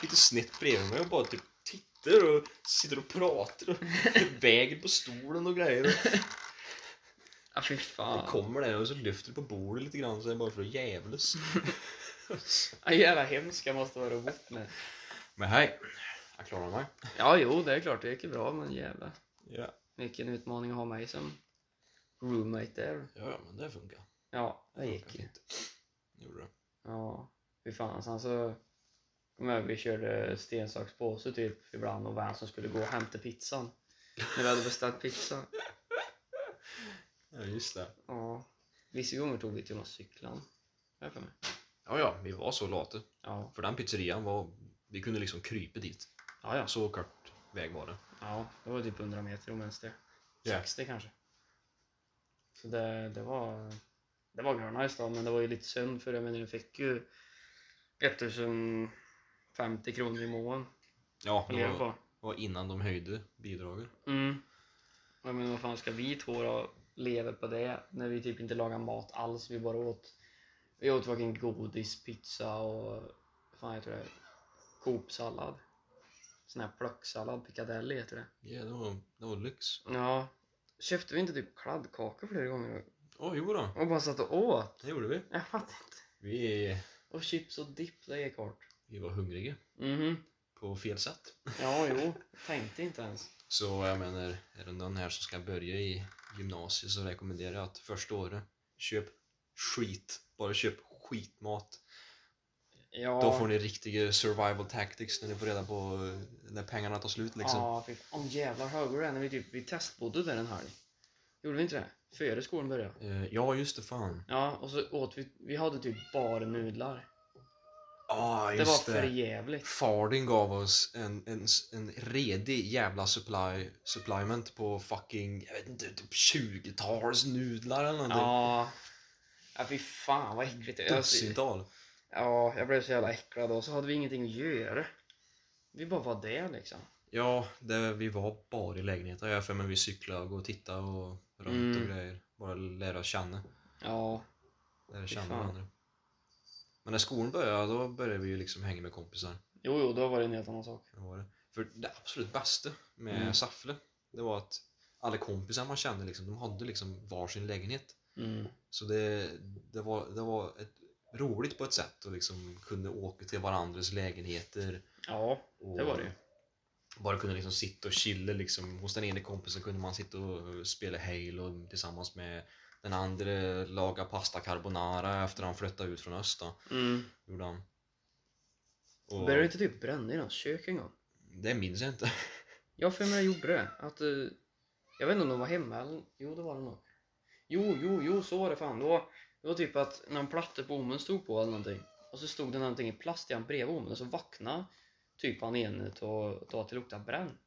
Speaker 1: lite snett bredvid mig och bara typ tittar och sitter och pratar och <laughs> väger på stolen och grejer.
Speaker 2: Ja fy
Speaker 1: Och
Speaker 2: fan.
Speaker 1: kommer där och så lyfter du på bordet lite grann så är det bara för att jävlas.
Speaker 2: Ja, jävla hemska måste vara och bott med.
Speaker 1: Men hej, jag klarar mig.
Speaker 2: Ja jo det är klart det gick ju bra men jävlar.
Speaker 1: Ja,
Speaker 2: Vilken utmaning att ha mig som roommate där.
Speaker 1: ja, ja men det funkar.
Speaker 2: Ja det gick ju.
Speaker 1: Gjorde det.
Speaker 2: Ja, fy fan. Sen så kom jag, vi körde sten, sax, påse typ ibland och vem som skulle gå och hämta pizzan. När vi hade beställt pizza.
Speaker 1: Ja, just det.
Speaker 2: Ja. Vissa gånger tog vi till och med cyklan. Jag för mig.
Speaker 1: Ja, ja, vi var så lata.
Speaker 2: Ja,
Speaker 1: För den pizzerian var, vi kunde liksom krypa dit.
Speaker 2: ja, ja.
Speaker 1: Så kort väg var det.
Speaker 2: ja det var typ 100 meter om ens det.
Speaker 1: Ja.
Speaker 2: 60 kanske. Så det, det var det var ganska nice då, men det var ju lite synd för jag menar du fick ju 1050 kronor i månaden
Speaker 1: Ja,
Speaker 2: att
Speaker 1: det
Speaker 2: leva
Speaker 1: var,
Speaker 2: på.
Speaker 1: var innan de höjde bidraget.
Speaker 2: Mm. Jag menar vad fan ska vi två då leva på det när vi typ inte lagar mat alls? Vi bara åt Vi åt varken godis, pizza och fan heter det? Coop-sallad. Sån här plöcksallad, piccadilly heter det.
Speaker 1: Ja, det var, det var lyx.
Speaker 2: Ja. Köpte vi inte typ kladdkakor flera gånger
Speaker 1: Ja, jo då.
Speaker 2: och bara satt och åt?
Speaker 1: Det gjorde vi.
Speaker 2: Jag fattar inte.
Speaker 1: Vi,
Speaker 2: Och chips och dipp, det gick hårt.
Speaker 1: vi var hungriga
Speaker 2: Mhm.
Speaker 1: på fel sätt.
Speaker 2: Ja, jo. Tänkte inte ens.
Speaker 1: Så jag menar, är det någon här som ska börja i gymnasiet så rekommenderar jag att första året, köp skit. Bara köp skitmat.
Speaker 2: Ja.
Speaker 1: Då får ni riktiga survival tactics när ni får reda på eh, när pengarna tar slut liksom.
Speaker 2: Ja, fy fan. Om jävlar hörde du det? När vi, typ, vi testbodde där en helg. Gjorde vi inte det? Före skolan började.
Speaker 1: Eh, ja, just det fan.
Speaker 2: Ja, och så åt vi, vi hade typ bara nudlar.
Speaker 1: Ja,
Speaker 2: Det var
Speaker 1: Ah, just det.
Speaker 2: för jävligt.
Speaker 1: Far din gav oss en, en, en redig jävla supply, supplement på fucking, jag vet inte, typ 20-tals nudlar eller någonting.
Speaker 2: Ja. Ja, fy fan vad äckligt. Jag,
Speaker 1: Dussintal.
Speaker 2: ja, jag blev så jävla äcklad och så hade vi ingenting att göra. Vi bara var där liksom.
Speaker 1: Ja, det, vi var bara i lägenheten har jag för mig. Vi cyklade och gå och tittade och runt
Speaker 2: Mm.
Speaker 1: och grejer. Bara lära känna,
Speaker 2: Ja.
Speaker 1: lära
Speaker 2: Fy
Speaker 1: känna
Speaker 2: fan.
Speaker 1: varandra. Men när skolan började, då började vi ju liksom hänga med kompisar.
Speaker 2: Jo, jo, då var det en helt annan sak.
Speaker 1: Det var det. För det absolut bästa med
Speaker 2: Mm.
Speaker 1: Säffle, det var att alla kompisar man kände, liksom, de hade liksom varsin lägenhet.
Speaker 2: Mm.
Speaker 1: Så det, det var, det var ett, roligt på ett sätt och liksom kunde åka till varandras lägenheter.
Speaker 2: Ja,
Speaker 1: Och
Speaker 2: det var det ju.
Speaker 1: bara kunde liksom sitta och chilla liksom. Hos den ene kompisen kunde man sitta och eh, spela Halo tillsammans med den andra laga pasta carbonara efter han flyttade ut från öst då,
Speaker 2: Mm.
Speaker 1: gjorde han. Och
Speaker 2: Började du inte typ bränna i någons kök en gång?
Speaker 1: Det minns jag inte.
Speaker 2: Jag för mig jag gjorde det. Att eh, Jag vet inte om de var hemma eller... Jo, det var de nog. Jo, jo, jo, så var det fan. Det var, det var typ att någon platta på ommen stod på eller någonting. Och så stod det någonting i plast igen bredvid ommen och så vaknade typ han igen och ta till lukta bränt.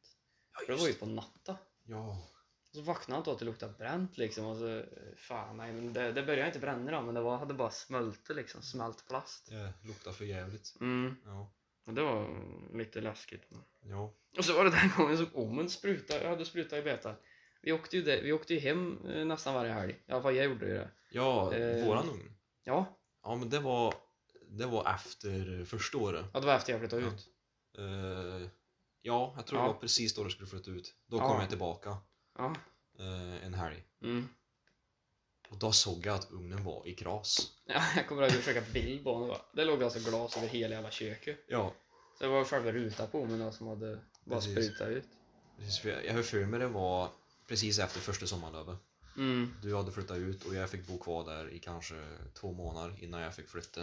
Speaker 2: För det var ju på natta.
Speaker 1: Ja.
Speaker 2: Och så vaknade han då till lukta bränt liksom och så, fan nej men det, det började inte bränna då men det var, hade bara smälte liksom, smält plast.
Speaker 1: Det luktar för jävligt.
Speaker 2: Mm,
Speaker 1: Ja.
Speaker 2: och det var lite läskigt. Men.
Speaker 1: Ja.
Speaker 2: Och så var det den gången som ommen sprutade, jag hade sprutat i beta. Vi åkte ju, där, vi åkte ju hem eh, nästan varje helg, i alla fall jag gjorde ju det.
Speaker 1: Ja,
Speaker 2: Eh.
Speaker 1: våran ugn.
Speaker 2: Ja,
Speaker 1: Ja, men det var, det var efter första året.
Speaker 2: ja det var efter jag flyttade
Speaker 1: Ja.
Speaker 2: ut.
Speaker 1: Eh, ja, jag tror
Speaker 2: Ja.
Speaker 1: det var precis då du skulle flytta ut. Då
Speaker 2: Ja.
Speaker 1: kom jag tillbaka
Speaker 2: Ja,
Speaker 1: eh, en helg.
Speaker 2: mm. <laughs>
Speaker 1: Och då såg jag att ugnen var i kras.
Speaker 2: ja jag kommer ihåg att försöka bild på honom. bara. Det låg alltså glas över hela jävla köket.
Speaker 1: Ja,
Speaker 2: Så det var själva rutan på ommen då som hade bara
Speaker 1: Precis.
Speaker 2: sprutat ut.
Speaker 1: precis. För jag jag har för mig det var precis efter första sommarlövet.
Speaker 2: Mm,
Speaker 1: Du hade flyttat ut och jag fick bo kvar där i kanske två månader innan jag fick flytta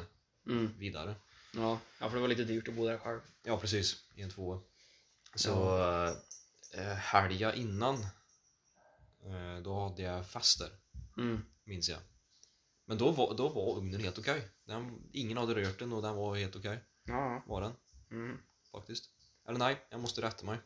Speaker 2: mm.
Speaker 1: vidare.
Speaker 2: Ja, ja för det var lite dyrt att bo där själv.
Speaker 1: Ja, precis. I en tvåa. Så eh, helgen innan, eh, då hade jag fester,
Speaker 2: Mm.
Speaker 1: minns jag. Men då var, då var ugnen helt okej. Den- Ingen hade rört den och den var helt okej,
Speaker 2: Ja.
Speaker 1: var den.
Speaker 2: Mm.
Speaker 1: faktiskt. Eller nej, jag måste rätta mig.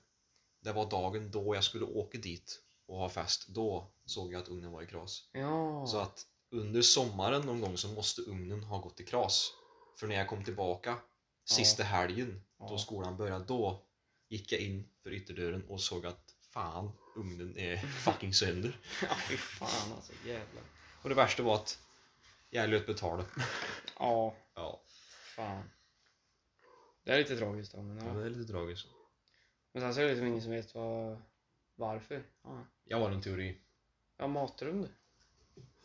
Speaker 1: Det var dagen då jag skulle åka dit och ha fest. Då såg jag att ugnen var i kras.
Speaker 2: Ja.
Speaker 1: Så att under sommaren någon gång så måste ugnen ha gått i kras. För när jag kom tillbaka sista helgen
Speaker 2: Ja.
Speaker 1: då skolan började, då gick jag in för ytterdörren och såg att fan, ugnen
Speaker 2: <laughs>
Speaker 1: är fucking sönder.
Speaker 2: <laughs> ja, fy fan alltså. Jävlar.
Speaker 1: Och det värsta var att jag löt betala.
Speaker 2: Ja,
Speaker 1: Ja,
Speaker 2: fan. Det är lite tragiskt då, men
Speaker 1: det
Speaker 2: ja.
Speaker 1: är lite tragiskt.
Speaker 2: Men sen så är det liksom ingen som vet vad, varför. Ja.
Speaker 1: Jag har en teori.
Speaker 2: Ja, matrum du.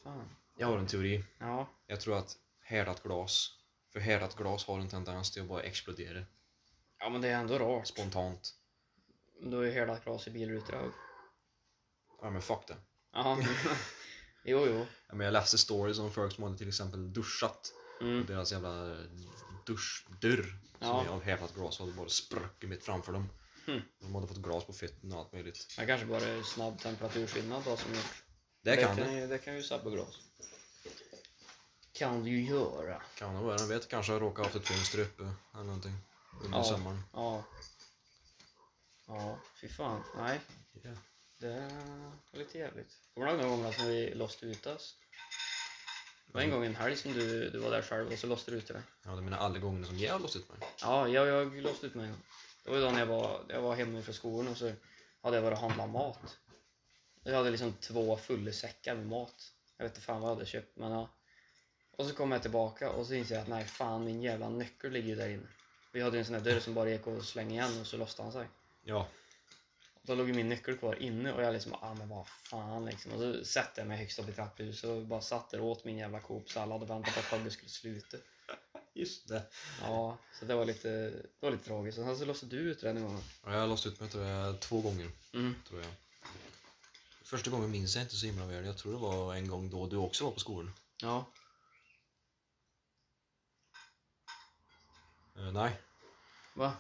Speaker 2: Fan.
Speaker 1: Jag har en teori.
Speaker 2: Ja.
Speaker 1: Jag tror att härdat glas, för härdat glas har en tendens till att bara explodera
Speaker 2: Ja, men det är ändå rart.
Speaker 1: spontant.
Speaker 2: Då är hela glas i bilrutor
Speaker 1: Ja men fuck det. <laughs>
Speaker 2: Ja. jo, jo.
Speaker 1: Ja, men jag läste stories om folk som hade till exempel duschat och
Speaker 2: Mm.
Speaker 1: deras jävla duschdörr
Speaker 2: Ja.
Speaker 1: som är av härdat glas hade bara spruckit mitt framför dem.
Speaker 2: Hmm.
Speaker 1: De hade fått glas på fötterna och allt möjligt.
Speaker 2: Det kanske bara är snabb temperaturskillnad då som gjort.
Speaker 1: Det kan
Speaker 2: kan
Speaker 1: det.
Speaker 2: ju, det kan ju sabba glas. Kan du ju göra.
Speaker 1: Kan det vara. Jag vet kanske jag råkade ha haft ett fönster uppe eller någonting under
Speaker 2: Ja.
Speaker 1: sommaren.
Speaker 2: Ja. Ja, fy fan. Nej,
Speaker 1: Ja.
Speaker 2: det var lite jävligt. Kommer du ihåg någon gång alltså när vi låste ut oss? Det var en
Speaker 1: Mm.
Speaker 2: gång en helg som du, du var där själv och så låste du ut dig.
Speaker 1: Jag hade mina alla gånger som jag har låst ut mig.
Speaker 2: Ja, jag, jag låste ut mig. Det var ju då när jag var, jag var hemma från skolan och så hade jag varit och handlat mat. Jag hade liksom två fulla säckar med mat. Jag vet inte fan vad jag hade köpt men ja. Och så kom jag tillbaka och så insåg jag att nej fan min jävla nyckel ligger ju där inne. Vi hade ju en sån här dörr som bara gick att slänga igen och så låste han sig.
Speaker 1: Ja.
Speaker 2: Då låg ju min nyckel kvar inne och jag liksom ah men vad fan liksom. Och så satte jag mig högst upp i trapphuset och bara satt där och åt min jävla Coop-sallad och väntade på att Fabbe skulle sluta.
Speaker 1: Just det.
Speaker 2: Ja, så det var lite, det var lite tragiskt. Och sen så låste du ut den en gång.
Speaker 1: Ja, jag har låst ut mig tror jag, två gånger.
Speaker 2: Mm.
Speaker 1: tror jag. Första gången minns jag inte så himla väl. Jag tror det var en gång då du också var på skolan.
Speaker 2: Ja.
Speaker 1: Eh, nej.
Speaker 2: Va?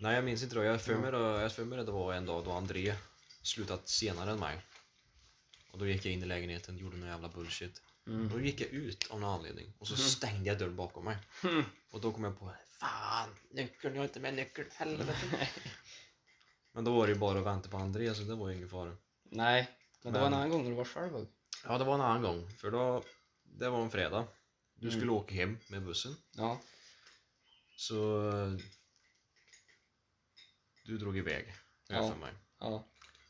Speaker 1: Nej, jag minns inte då. Jag har för
Speaker 2: Mm.
Speaker 1: mig då- jag har för mig att det var en dag då André slutat senare än mig. Och då gick jag in i lägenheten, gjorde någon jävla bullshit. Då
Speaker 2: Mm.
Speaker 1: gick jag ut av någon anledning och så
Speaker 2: Mhm.
Speaker 1: stängde jag dörren bakom mig.
Speaker 2: Mm.
Speaker 1: Och då kom jag på Fan, nyckeln, jag har inte med nyckeln, helvete. Men då var det ju bara att vänta på André så det var ju ingen fara.
Speaker 2: <laughs> Nej, men det var en
Speaker 1: Men-
Speaker 2: annan gång när du var själv. va?
Speaker 1: Ja, det var en annan gång. För då, det var en fredag. Du
Speaker 2: Mm.
Speaker 1: skulle åka hem med bussen.
Speaker 2: Ja.
Speaker 1: Så eh, du drog iväg har jag
Speaker 2: Ja.
Speaker 1: för mig.
Speaker 2: Ja.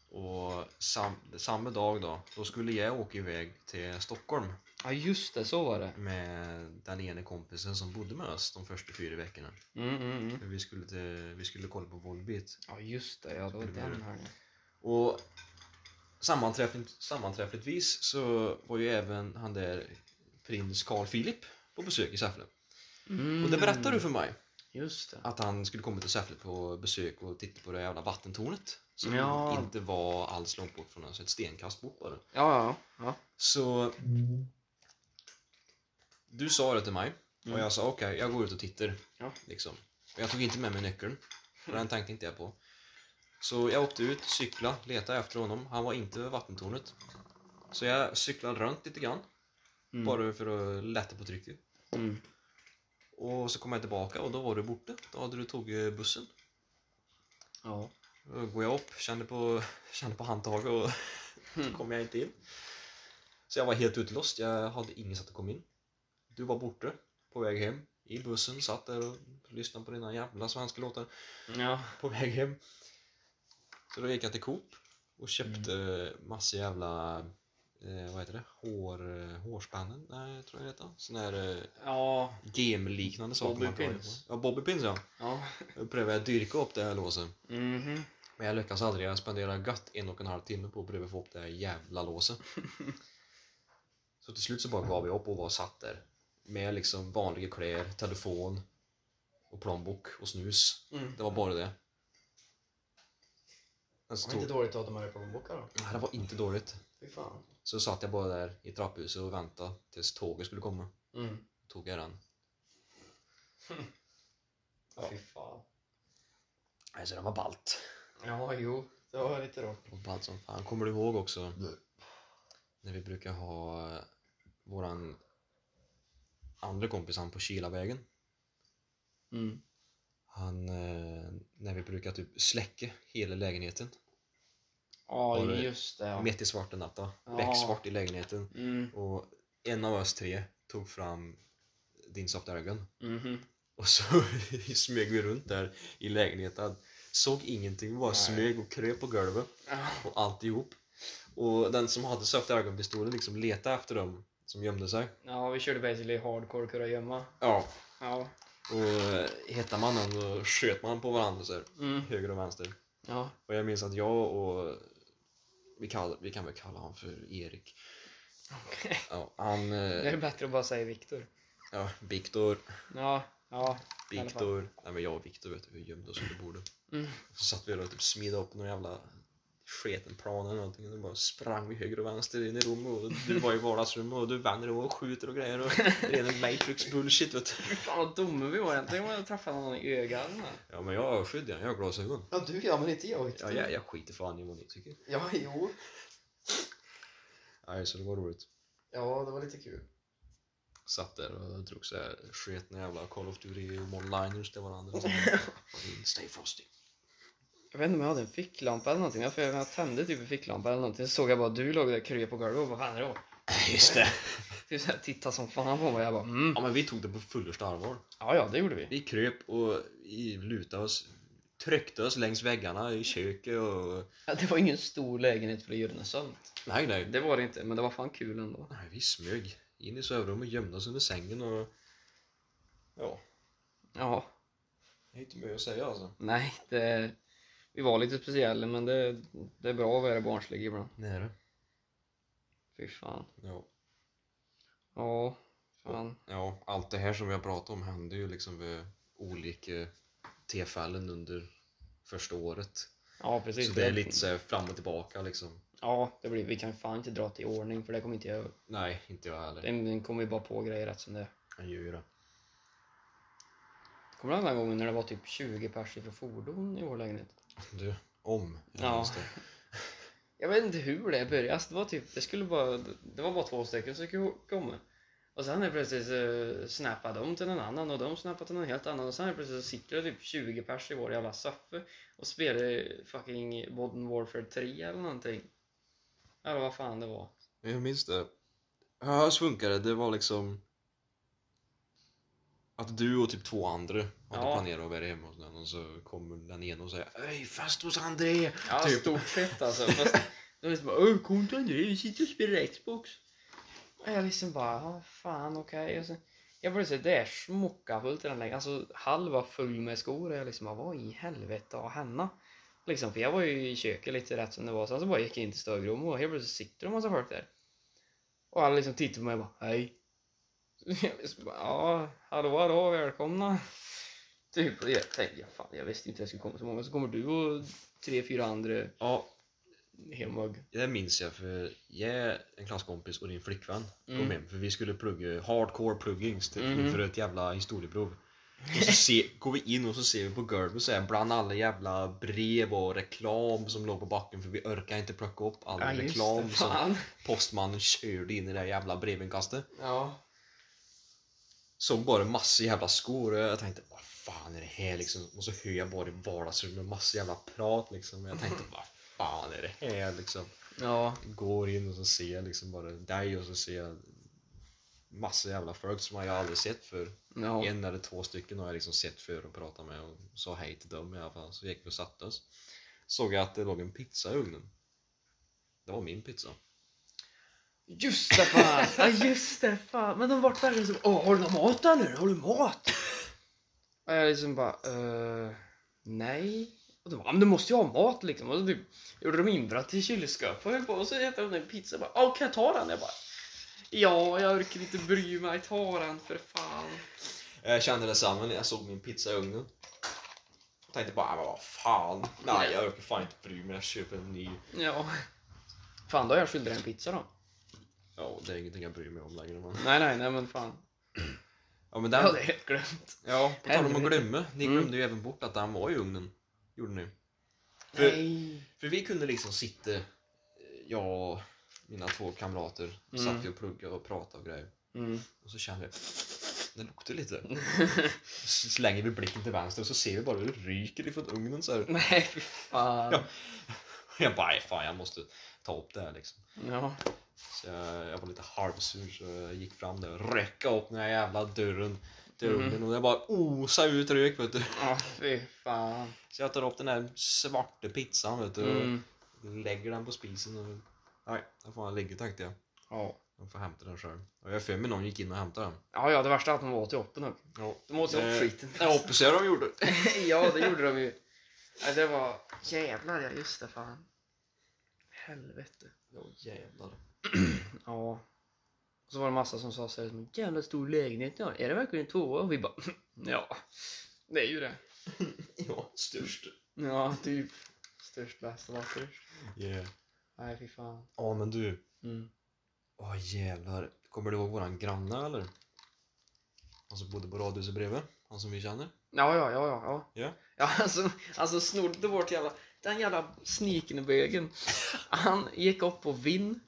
Speaker 1: Och sam, samma dag då, då skulle jag åka iväg till Stockholm
Speaker 2: Ja, just det, så var det.
Speaker 1: med den ene kompisen som bodde med oss de första fyra veckorna.
Speaker 2: Mm, mm, mm.
Speaker 1: För Vi skulle, till, vi skulle kolla på Volbeat.
Speaker 2: Ja, just det, ja, det var
Speaker 1: Skulle vi
Speaker 2: den
Speaker 1: göra.
Speaker 2: här. Mm.
Speaker 1: Och sammanträffligt, sammanträffligtvis så var ju även han där prins Carl Philip på besök i Säffle.
Speaker 2: Mm.
Speaker 1: Och det berättade du för mig.
Speaker 2: Just det.
Speaker 1: att han skulle komma till Säffle på besök och titta på det jävla vattentornet. Som
Speaker 2: Ja.
Speaker 1: inte var alls långt bort från oss, ett stenkast bort bara.
Speaker 2: Ja, ja, ja.
Speaker 1: Så du sa det till mig
Speaker 2: Mm.
Speaker 1: och jag sa okej, jag går ut och tittar.
Speaker 2: Ja. Mm.
Speaker 1: Liksom. Och jag tog inte med mig nyckeln. Och Den tänkte inte jag på. Så jag åkte ut, cykla, letade efter honom. Han var inte vid vattentornet. Så jag cyklade runt lite grann,
Speaker 2: Mm.
Speaker 1: bara för att lätta på trycket.
Speaker 2: Mm.
Speaker 1: Och så kom jag tillbaka och då var du borta. Då hade du tagit bussen.
Speaker 2: Ja.
Speaker 1: Då går jag upp, kände på, kände på handtaget och <laughs>
Speaker 2: Mm.
Speaker 1: kom jag inte in. Så jag var helt utlåst, jag hade ingen sätt att komma in. Du var borta, på väg hem, i bussen, satt där och lyssnade på dina jävla svenska låtar
Speaker 2: Ja.
Speaker 1: på väg hem. Så då gick jag till Coop och köpte mm. massa jävla, eh, vad heter det, Hår, eh, hårspännen? Nej, jag tror jag det heter. Sån här eh,
Speaker 2: Ja.
Speaker 1: gem-liknande saker
Speaker 2: Bobby
Speaker 1: man kan ha i
Speaker 2: pins.
Speaker 1: på. Ja, bobbypins ja.
Speaker 2: Ja.
Speaker 1: Då prövade jag att dyrka upp det här låset.
Speaker 2: Mhm.
Speaker 1: Men jag lyckas aldrig. Jag spenderar gött en och en halv timme på att pröva få upp det här jävla låset. så till slut så bara gav jag upp och var satt där. Med liksom vanliga kläder, telefon och plånbok och snus.
Speaker 2: Mm.
Speaker 1: Det var bara det. Men så
Speaker 3: Det var inte
Speaker 1: tog...
Speaker 3: dåligt att de hade plånbokar då.
Speaker 1: Nej, det var inte dåligt.
Speaker 3: Fy fan.
Speaker 1: Så satt jag bara där i trapphuset och väntade tills tåget skulle komma.
Speaker 3: Mm.
Speaker 1: Tog jag den. Ja.
Speaker 3: Ja. Fy fan.
Speaker 1: Nej, så den var ballt.
Speaker 3: Ja, jo. Det var lite roligt.
Speaker 1: Och ballt som fan. Kommer du ihåg också
Speaker 3: Nej.
Speaker 1: när vi brukar ha eh, våran andra kompis, han på Kilavägen.
Speaker 2: Mm.
Speaker 1: Han, eh, när vi brukar typ släcka hela lägenheten.
Speaker 2: Ja,
Speaker 1: Var det-
Speaker 2: just det. Ja.
Speaker 1: Mitt i svarta natta.
Speaker 2: Ja.
Speaker 1: Becksvart i lägenheten.
Speaker 2: Mm.
Speaker 1: Och en av oss tre tog fram din softa ögon.
Speaker 2: Mhm.
Speaker 1: Och så <laughs> smög vi runt där i lägenheten. Såg ingenting, bara
Speaker 3: Nej.
Speaker 1: smög och kröp på golvet.
Speaker 2: Ja.
Speaker 1: och alltihop. Och den som hade sökt ögonpistolen liksom letade efter dem som gömde sig.
Speaker 2: Ja, vi körde basically hardcore kurragömma.
Speaker 1: Ja.
Speaker 2: Ja.
Speaker 1: Och eh, hittade man någon då sköt man på varandra så här,
Speaker 2: Mm.
Speaker 1: höger och vänster.
Speaker 2: Ja.
Speaker 1: Och jag minns att jag och vi, kall, vi kan väl kalla honom för Erik.
Speaker 2: Okej.
Speaker 1: Ja, han,
Speaker 2: Det är
Speaker 1: eh,
Speaker 2: bättre att bara säga Viktor.
Speaker 1: ja, Viktor,
Speaker 2: Ja. Ja. I alla fall.
Speaker 1: Viktor. Nej men jag och Viktor vet du, vi gömde oss under bordet.
Speaker 2: Mm.
Speaker 1: Så satt vi där och typ smidde upp någon jävla sketen plan eller någonting och då bara sprang vi höger och vänster in i rummet och du var i vardagsrummet och du vänder dig om och skjuter och grejer och rena matrix bullshit vet du.
Speaker 2: Fan vad dumma vi var egentligen. Tänk om jag träffade någon i ögonen.
Speaker 1: Ja men jag har örskydd jag, jag har glasögon.
Speaker 3: Ja, du ja, men inte jag.
Speaker 1: Ja,
Speaker 3: Victor.
Speaker 1: jag, jag skiter fan i vad ni tycker.
Speaker 3: ja, jo.
Speaker 1: Nej så det var roligt.
Speaker 3: Ja, det var lite kul.
Speaker 1: Satt där och drog så här sketna jävla Call of Duty och Moneliners till
Speaker 2: <laughs>
Speaker 1: varandra. Stay frosty.
Speaker 2: Jag vet inte om jag hade en ficklampa eller någonting. Jag för jag tände typ en ficklampa eller någonting. Så såg jag bara att du låg där och kröp på golvet och vad fan är det? då?
Speaker 1: Just det.
Speaker 2: Typ såhär titta som fan på mig. Jag bara mm.
Speaker 1: Ja men vi tog det på fullaste allvar.
Speaker 2: Ja, ja, det gjorde vi.
Speaker 1: Vi kröp och i- lutade oss, tryckte oss längs väggarna i köket och...
Speaker 2: Ja, det var ingen stor lägenhet för att göra den sömn.
Speaker 1: Nej nej.
Speaker 2: Det var det inte, men det var fan kul ändå.
Speaker 1: Nej, vi smög in i sovrummet och gömde oss under sängen och... Ja,
Speaker 2: Ja,
Speaker 1: det är inte mycket att säga alltså.
Speaker 2: nej, det... Vi var lite speciella, men det, det är bra att vara barnslig ibland.
Speaker 1: Nej du.
Speaker 2: Fy fan.
Speaker 1: Ja.
Speaker 2: Ja, fan.
Speaker 1: ja, allt det här som vi har pratat om hände ju liksom vid olika tillfällen under första året.
Speaker 2: Ja, precis.
Speaker 1: Så det är lite så här fram och tillbaka liksom.
Speaker 2: Ja, det blir... vi kan fan inte dra till i ordning, för det kommer inte jag...
Speaker 1: Nej, inte jag heller.
Speaker 2: Den, den kommer ju bara på grejer rätt som det är.
Speaker 1: Han gör ju det.
Speaker 2: Kommer du ihåg den gången när det var typ 20 pers ifrån fordon i vår lägenhet?
Speaker 1: Du, om.
Speaker 2: Ja.
Speaker 1: just det.
Speaker 2: Jag vet inte hur det började. Alltså, det var typ, det skulle bara, det var bara två stycken som skulle komma. Och sen är plötsligt uh, snappade de till någon annan och de snappade till någon helt annan och sen är plötsligt så sitter det typ 20 pers i vår jävla soffa och spelar fucking Modern Warfare 3 eller någonting. Eller vad fan det var.
Speaker 1: Jag minns det. Ja, så funkar det. Det var liksom att du och typ två andra hade
Speaker 2: Ja.
Speaker 1: planerat att vara hemma hos någon och så kommer den ena och säger Öj, fest hos André!
Speaker 2: Ja,
Speaker 1: Typ.
Speaker 2: stort sett alltså. Fast de liksom bara Öh, kom till André, vi sitter och spelar Xbox. Och jag liksom bara, ja fan okej. Okay. Jag blev så där smockafullt i den lägenheten. Alltså halva full med skor och jag liksom bara, vad i helvete har henne? Liksom, för jag var ju i köket lite rätt som det var. Sen så bara gick jag in till stödrummet och helt plötsligt sitter det en massa folk där. Och alla liksom tittar på mig och bara, hej. <laughs> Jag liksom bara, ja, hallå hallå, välkomna. <laughs> Typ, och jag tänkte, ja, fan jag visste inte att jag skulle komma så många. Så kommer du och tre, fyra andra
Speaker 1: Ja,
Speaker 2: hemhugg.
Speaker 1: det minns jag för jag, en klasskompis och din flickvän
Speaker 2: Mm.
Speaker 1: kom hem för vi skulle plugga hardcore pluggings till,
Speaker 2: Mhm.
Speaker 1: inför ett jävla historieprov. Och så se, går vi in och så ser vi på Gerber så här, bland alla jävla brev och reklam som låg på backen för vi orkar inte plocka upp all
Speaker 2: Ja, just
Speaker 1: reklam
Speaker 2: det.
Speaker 1: som
Speaker 2: Fan.
Speaker 1: postmannen körde in i det där jävla brevinkastet.
Speaker 3: Ja.
Speaker 1: Såg bara en massa jävla skor och jag tänkte vad fan är det här liksom? Och så hör jag bara i vardagsrummet en massa jävla prat liksom. Och jag tänkte vad fan är det här liksom?
Speaker 2: Ja.
Speaker 1: Går in och så ser jag liksom bara dig och så ser jag massa jävla folk som jag aldrig sett för
Speaker 2: ja.
Speaker 1: En eller två stycken har jag liksom sett för och pratat med och sa hej till dem i alla fall. Så gick vi och satte oss. Såg jag att det låg en pizza i ugnen. Det var min pizza.
Speaker 2: Just det fan! <laughs> ja just det fan! Men de vart verkligen så Åh, har du någon mat eller? Har du mat? Och jag liksom bara eh, Nej. Och de bara, men du måste ju ha mat liksom. Och så typ, gjorde de inbrott i kylskåpet och höll på och så äter de en pizza och bara Åh, kan jag ta den? Jag bara Ja, jag orkar inte bry mig. Ta den för fan.
Speaker 1: Jag kände detsamma när jag såg min pizza i ugnen. Jag tänkte bara, "Ah, men vad fan. Nej, jag orkar fan inte bry mig. Jag köper en ny.
Speaker 2: Ja. Fan, då har jag skyldig dig en pizza då.
Speaker 1: Ja, det är ingenting jag bryr mig om längre. Men...
Speaker 2: Nej, nej, nej men fan.
Speaker 1: Ja, men
Speaker 2: Det
Speaker 1: den...
Speaker 2: hade jag helt glömt.
Speaker 1: Ja, på tal om att
Speaker 2: Helvete.
Speaker 1: glömma. Ni
Speaker 2: Mm.
Speaker 1: glömde ju även bort att den var i ugnen. Gjorde ni. För-
Speaker 2: Nej.
Speaker 1: För vi kunde liksom sitta, eh, jag och mina två kamrater,
Speaker 2: Mm.
Speaker 1: satt ju och pluggade och pratade och grejer.
Speaker 2: Mm.
Speaker 1: Och så kände jag, det luktar lite. Så slänger vi blicken till vänster och så ser vi bara hur det ryker ifrån ugnen så här.
Speaker 2: <laughs> Nej, fy fan.
Speaker 1: Ja. Jag bara, "Nej, fan jag måste ta upp det här liksom.
Speaker 2: ja.
Speaker 1: Så jag, jag var lite halvsur så jag gick fram där och räckade upp den här jävla dörren till
Speaker 2: Mm.
Speaker 1: ugnen och det bara osade ut rök vet du.
Speaker 2: Ja, fy fan.
Speaker 1: Så jag tar upp den här svarta pizzan vet du
Speaker 2: Mm.
Speaker 1: och lägger den på spisen och nej, den får han ligga tänkte jag.
Speaker 2: Ja.
Speaker 1: De får hämta den själv. Och jag har för mig någon gick in och hämtade den.
Speaker 2: ja, ja, det värsta är att de var till oppen också.
Speaker 1: Ja,
Speaker 2: De åt
Speaker 1: Eh,
Speaker 2: upp skiten.
Speaker 1: jag hoppas jag de gjorde.
Speaker 2: <laughs> ja, det gjorde de ju. Ja, det var... Jävlar ja, just det fan. Helvete.
Speaker 1: Ja jävlar.
Speaker 2: Ja. Och så var det massa som sa så här, "Men jävla stor lägenhet ni har. Är det verkligen en tvåa? Och vi bara, <laughs> ja. Det är ju det.
Speaker 1: Ja, störst.
Speaker 2: Ja, typ. Störst, bäst och vackrast.
Speaker 1: Yeah.
Speaker 2: Nej, fy fan.
Speaker 1: Ja men du,
Speaker 2: Mm.
Speaker 1: åh jävlar. Kommer du ihåg våran granne eller? Han som bodde på radhuset bredvid, han som vi känner.
Speaker 2: Ja, ja, ja, ja. Ja,
Speaker 1: Ja.
Speaker 2: ja alltså, alltså snodde vårt jävla... Den jävla snikenbögen. Han gick upp på Vinn.